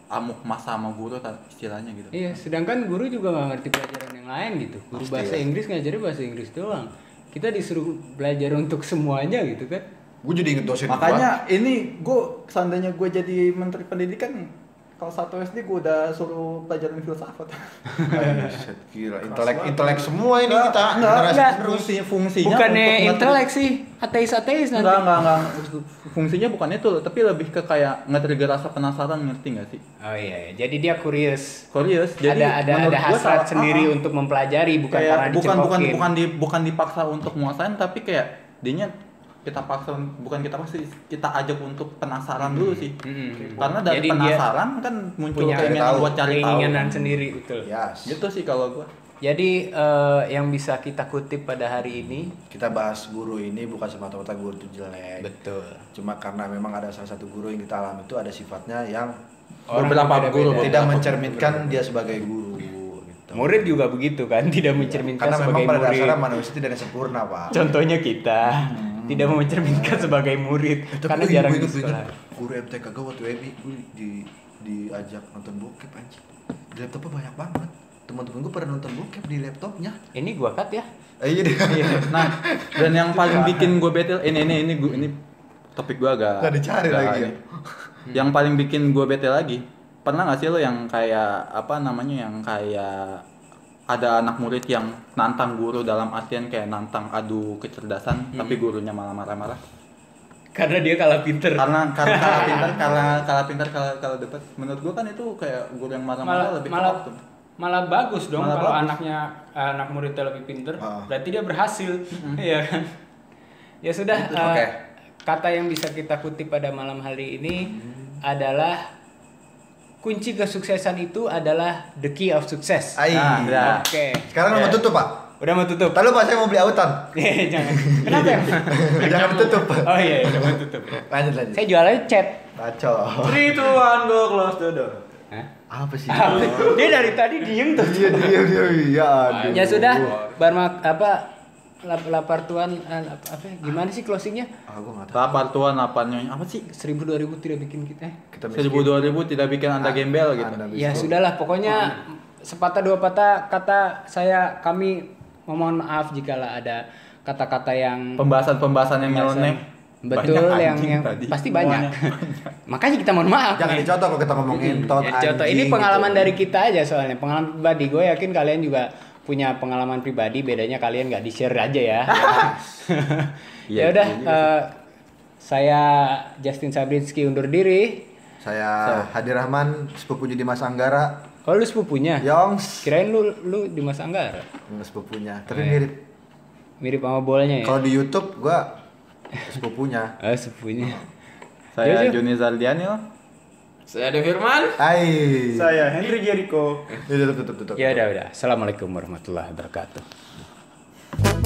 amuk masa sama guru ta- istilahnya gitu.
Iya, sedangkan guru juga nggak ngerti pelajaran yang lain gitu. Guru bahasa Inggris ngajarin bahasa Inggris doang. Kita disuruh belajar untuk semuanya gitu kan.
Gue jadi inget dosen
Makanya ini gue seandainya gue jadi menteri pendidikan kalau satu SD gue udah suruh pelajaran filsafat.
gua. Aduh, set, gila intelek intelek semua ini kita. Generasi
Enggak,
terus.
fungsi fungsinya untuk
Bukannya
ngerti-
intelek sih, ateis-ateis nanti.
Enggak, enggak, enggak. Fungsinya bukan itu, tapi lebih ke kayak nge-trigger rasa penasaran, ngerti nggak sih?
Oh iya, iya. jadi dia curious.
Serius, jadi
ada ada
menurut
ada
gua
hasrat
salah-
sendiri
ah, ah.
untuk mempelajari bukan
Kayak
karena
bukan bukan
dicekokin.
bukan di, bukan dipaksa untuk menguasain tapi kayak dinya kita paksa bukan kita paksa kita ajak untuk penasaran dulu sih.
Mm-mm.
Karena
Hmm.
dari
Jadi dia
penasaran kan muncul
punya
keinginan
tahu,
buat cari tahu.
keinginan sendiri betul.
Yes.
Gitu sih kalau gua.
Jadi eh, yang bisa kita kutip pada hari ini
Kita bahas guru ini bukan semata-mata guru itu jelek.
betul.
Cuma karena memang ada salah satu guru yang kita alami itu ada sifatnya yang
Orang
beberapa guru
berbeda-beda.
tidak mencerminkan dia sebagai guru. Gitu.
Murid juga begitu kan, tidak mencerminkan
Karena memang
sebagai
pada
murid.
dasarnya manusia tidak ada sempurna pak.
Contohnya kita tidak mencerminkan sebagai murid
Tapi
karena
gue
jarang di
ingat- gue
sekolah.
ingat Guru MTK gue waktu EBI gue di diajak nonton bokep anjing. Di laptopnya banyak banget. Teman-teman gue pada nonton bokep di laptopnya.
Ini gua cut ya.
Eh, iya deh.
Nah, dan yang
kan.
paling bikin gue bete ini ini ini gua- ini topik gue agak
Nggak dicari
agak
lagi
ini.
ya?
Yang paling bikin gue bete lagi, pernah nggak sih lo yang kayak apa namanya yang kayak ada anak murid yang nantang guru dalam artian kayak nantang adu kecerdasan,
Hmm.
tapi gurunya malah marah-marah.
Karena dia kalah pinter.
Karena karena kalah pintar, karena kalah pintar, kalah kalah dapat. Menurut gue kan itu kayak guru yang marah-marah
malah
lebih
malah,
ke oknum.
malah bagus dong
Malah
kalau
bagus.
anaknya anak muridnya lebih pinter
Ah.
berarti dia berhasil iya kan
Ya sudah,
Gitu.
eh,
Oke.
kata yang bisa kita kutip pada malam hari ini
Mm-hmm.
adalah kunci kesuksesan itu adalah the key of success.
Ai.
Nah, udah.
Oke,
Sekarang
Iya.
mau tutup pak.
udah mau tutup.
Tahu pak saya mau beli autan.
Eh, Jangan. Kenapa ya?
Jangan tutup.
Oh iya, iya, jangan tutup.
Lanjut lanjut.
Saya jualannya chat.
Kacau.
Three, two, one, go close the door.
Apa sih?
Dia dari tadi diem tuh.
Iya dia dia iya. aduh.
Ya sudah, barmak apa lap- lapar tuan eh, lap- apa ya? gimana sih closingnya?
Ah gue nggak tahu.
Lapar tuan, laparnya apa sih?
Seribu dua ribu tidak bikin kita. eh.
Kita miskin. Ah,
Seribu dua ribu tidak bikin anda gembel gitu.
Anda miskin.
Ya sudahlah, pokoknya sepatah dua patah kata saya kami memohon maaf jikala ada kata-kata yang
Pembahasan-pembahasan
Iya,
yang nyeleneh.
betul
Banyak
yang
anjing
yang
tadi.
pasti banyak. Makanya kita mohon maaf.
Jangan
nih. Iya,
dicontoh kalau kita ngomongin gitu. tot
gitu.
Ya, contoh ini pengalaman dari kita aja soalnya pengalaman pribadi gue yakin kalian juga
punya pengalaman pribadi bedanya kalian nggak di share aja ya
Iya,
ya udah
iya juga
eh, saya Justin Sabrinski undur diri
Saya Hadir Rahman, sepupunya Dimas Anggara,
oh lu sepupunya
Ya.
Yongs,
kirain lu lu di Mas Anggara
Nggak sepupunya, tapi mirip.
mirip sama
Iya.
bolanya ya
Kalau di YouTube gua sepupunya.
oh sepupunya
Saya
Iya, iya.
Juni Zaldianil.
Saya ada Firman.
Hai. Iya,
Saya Henry Jericho.
Tutup tutup tutup.
Ya
ya udah udah assalamualaikum warahmatullahi wabarakatuh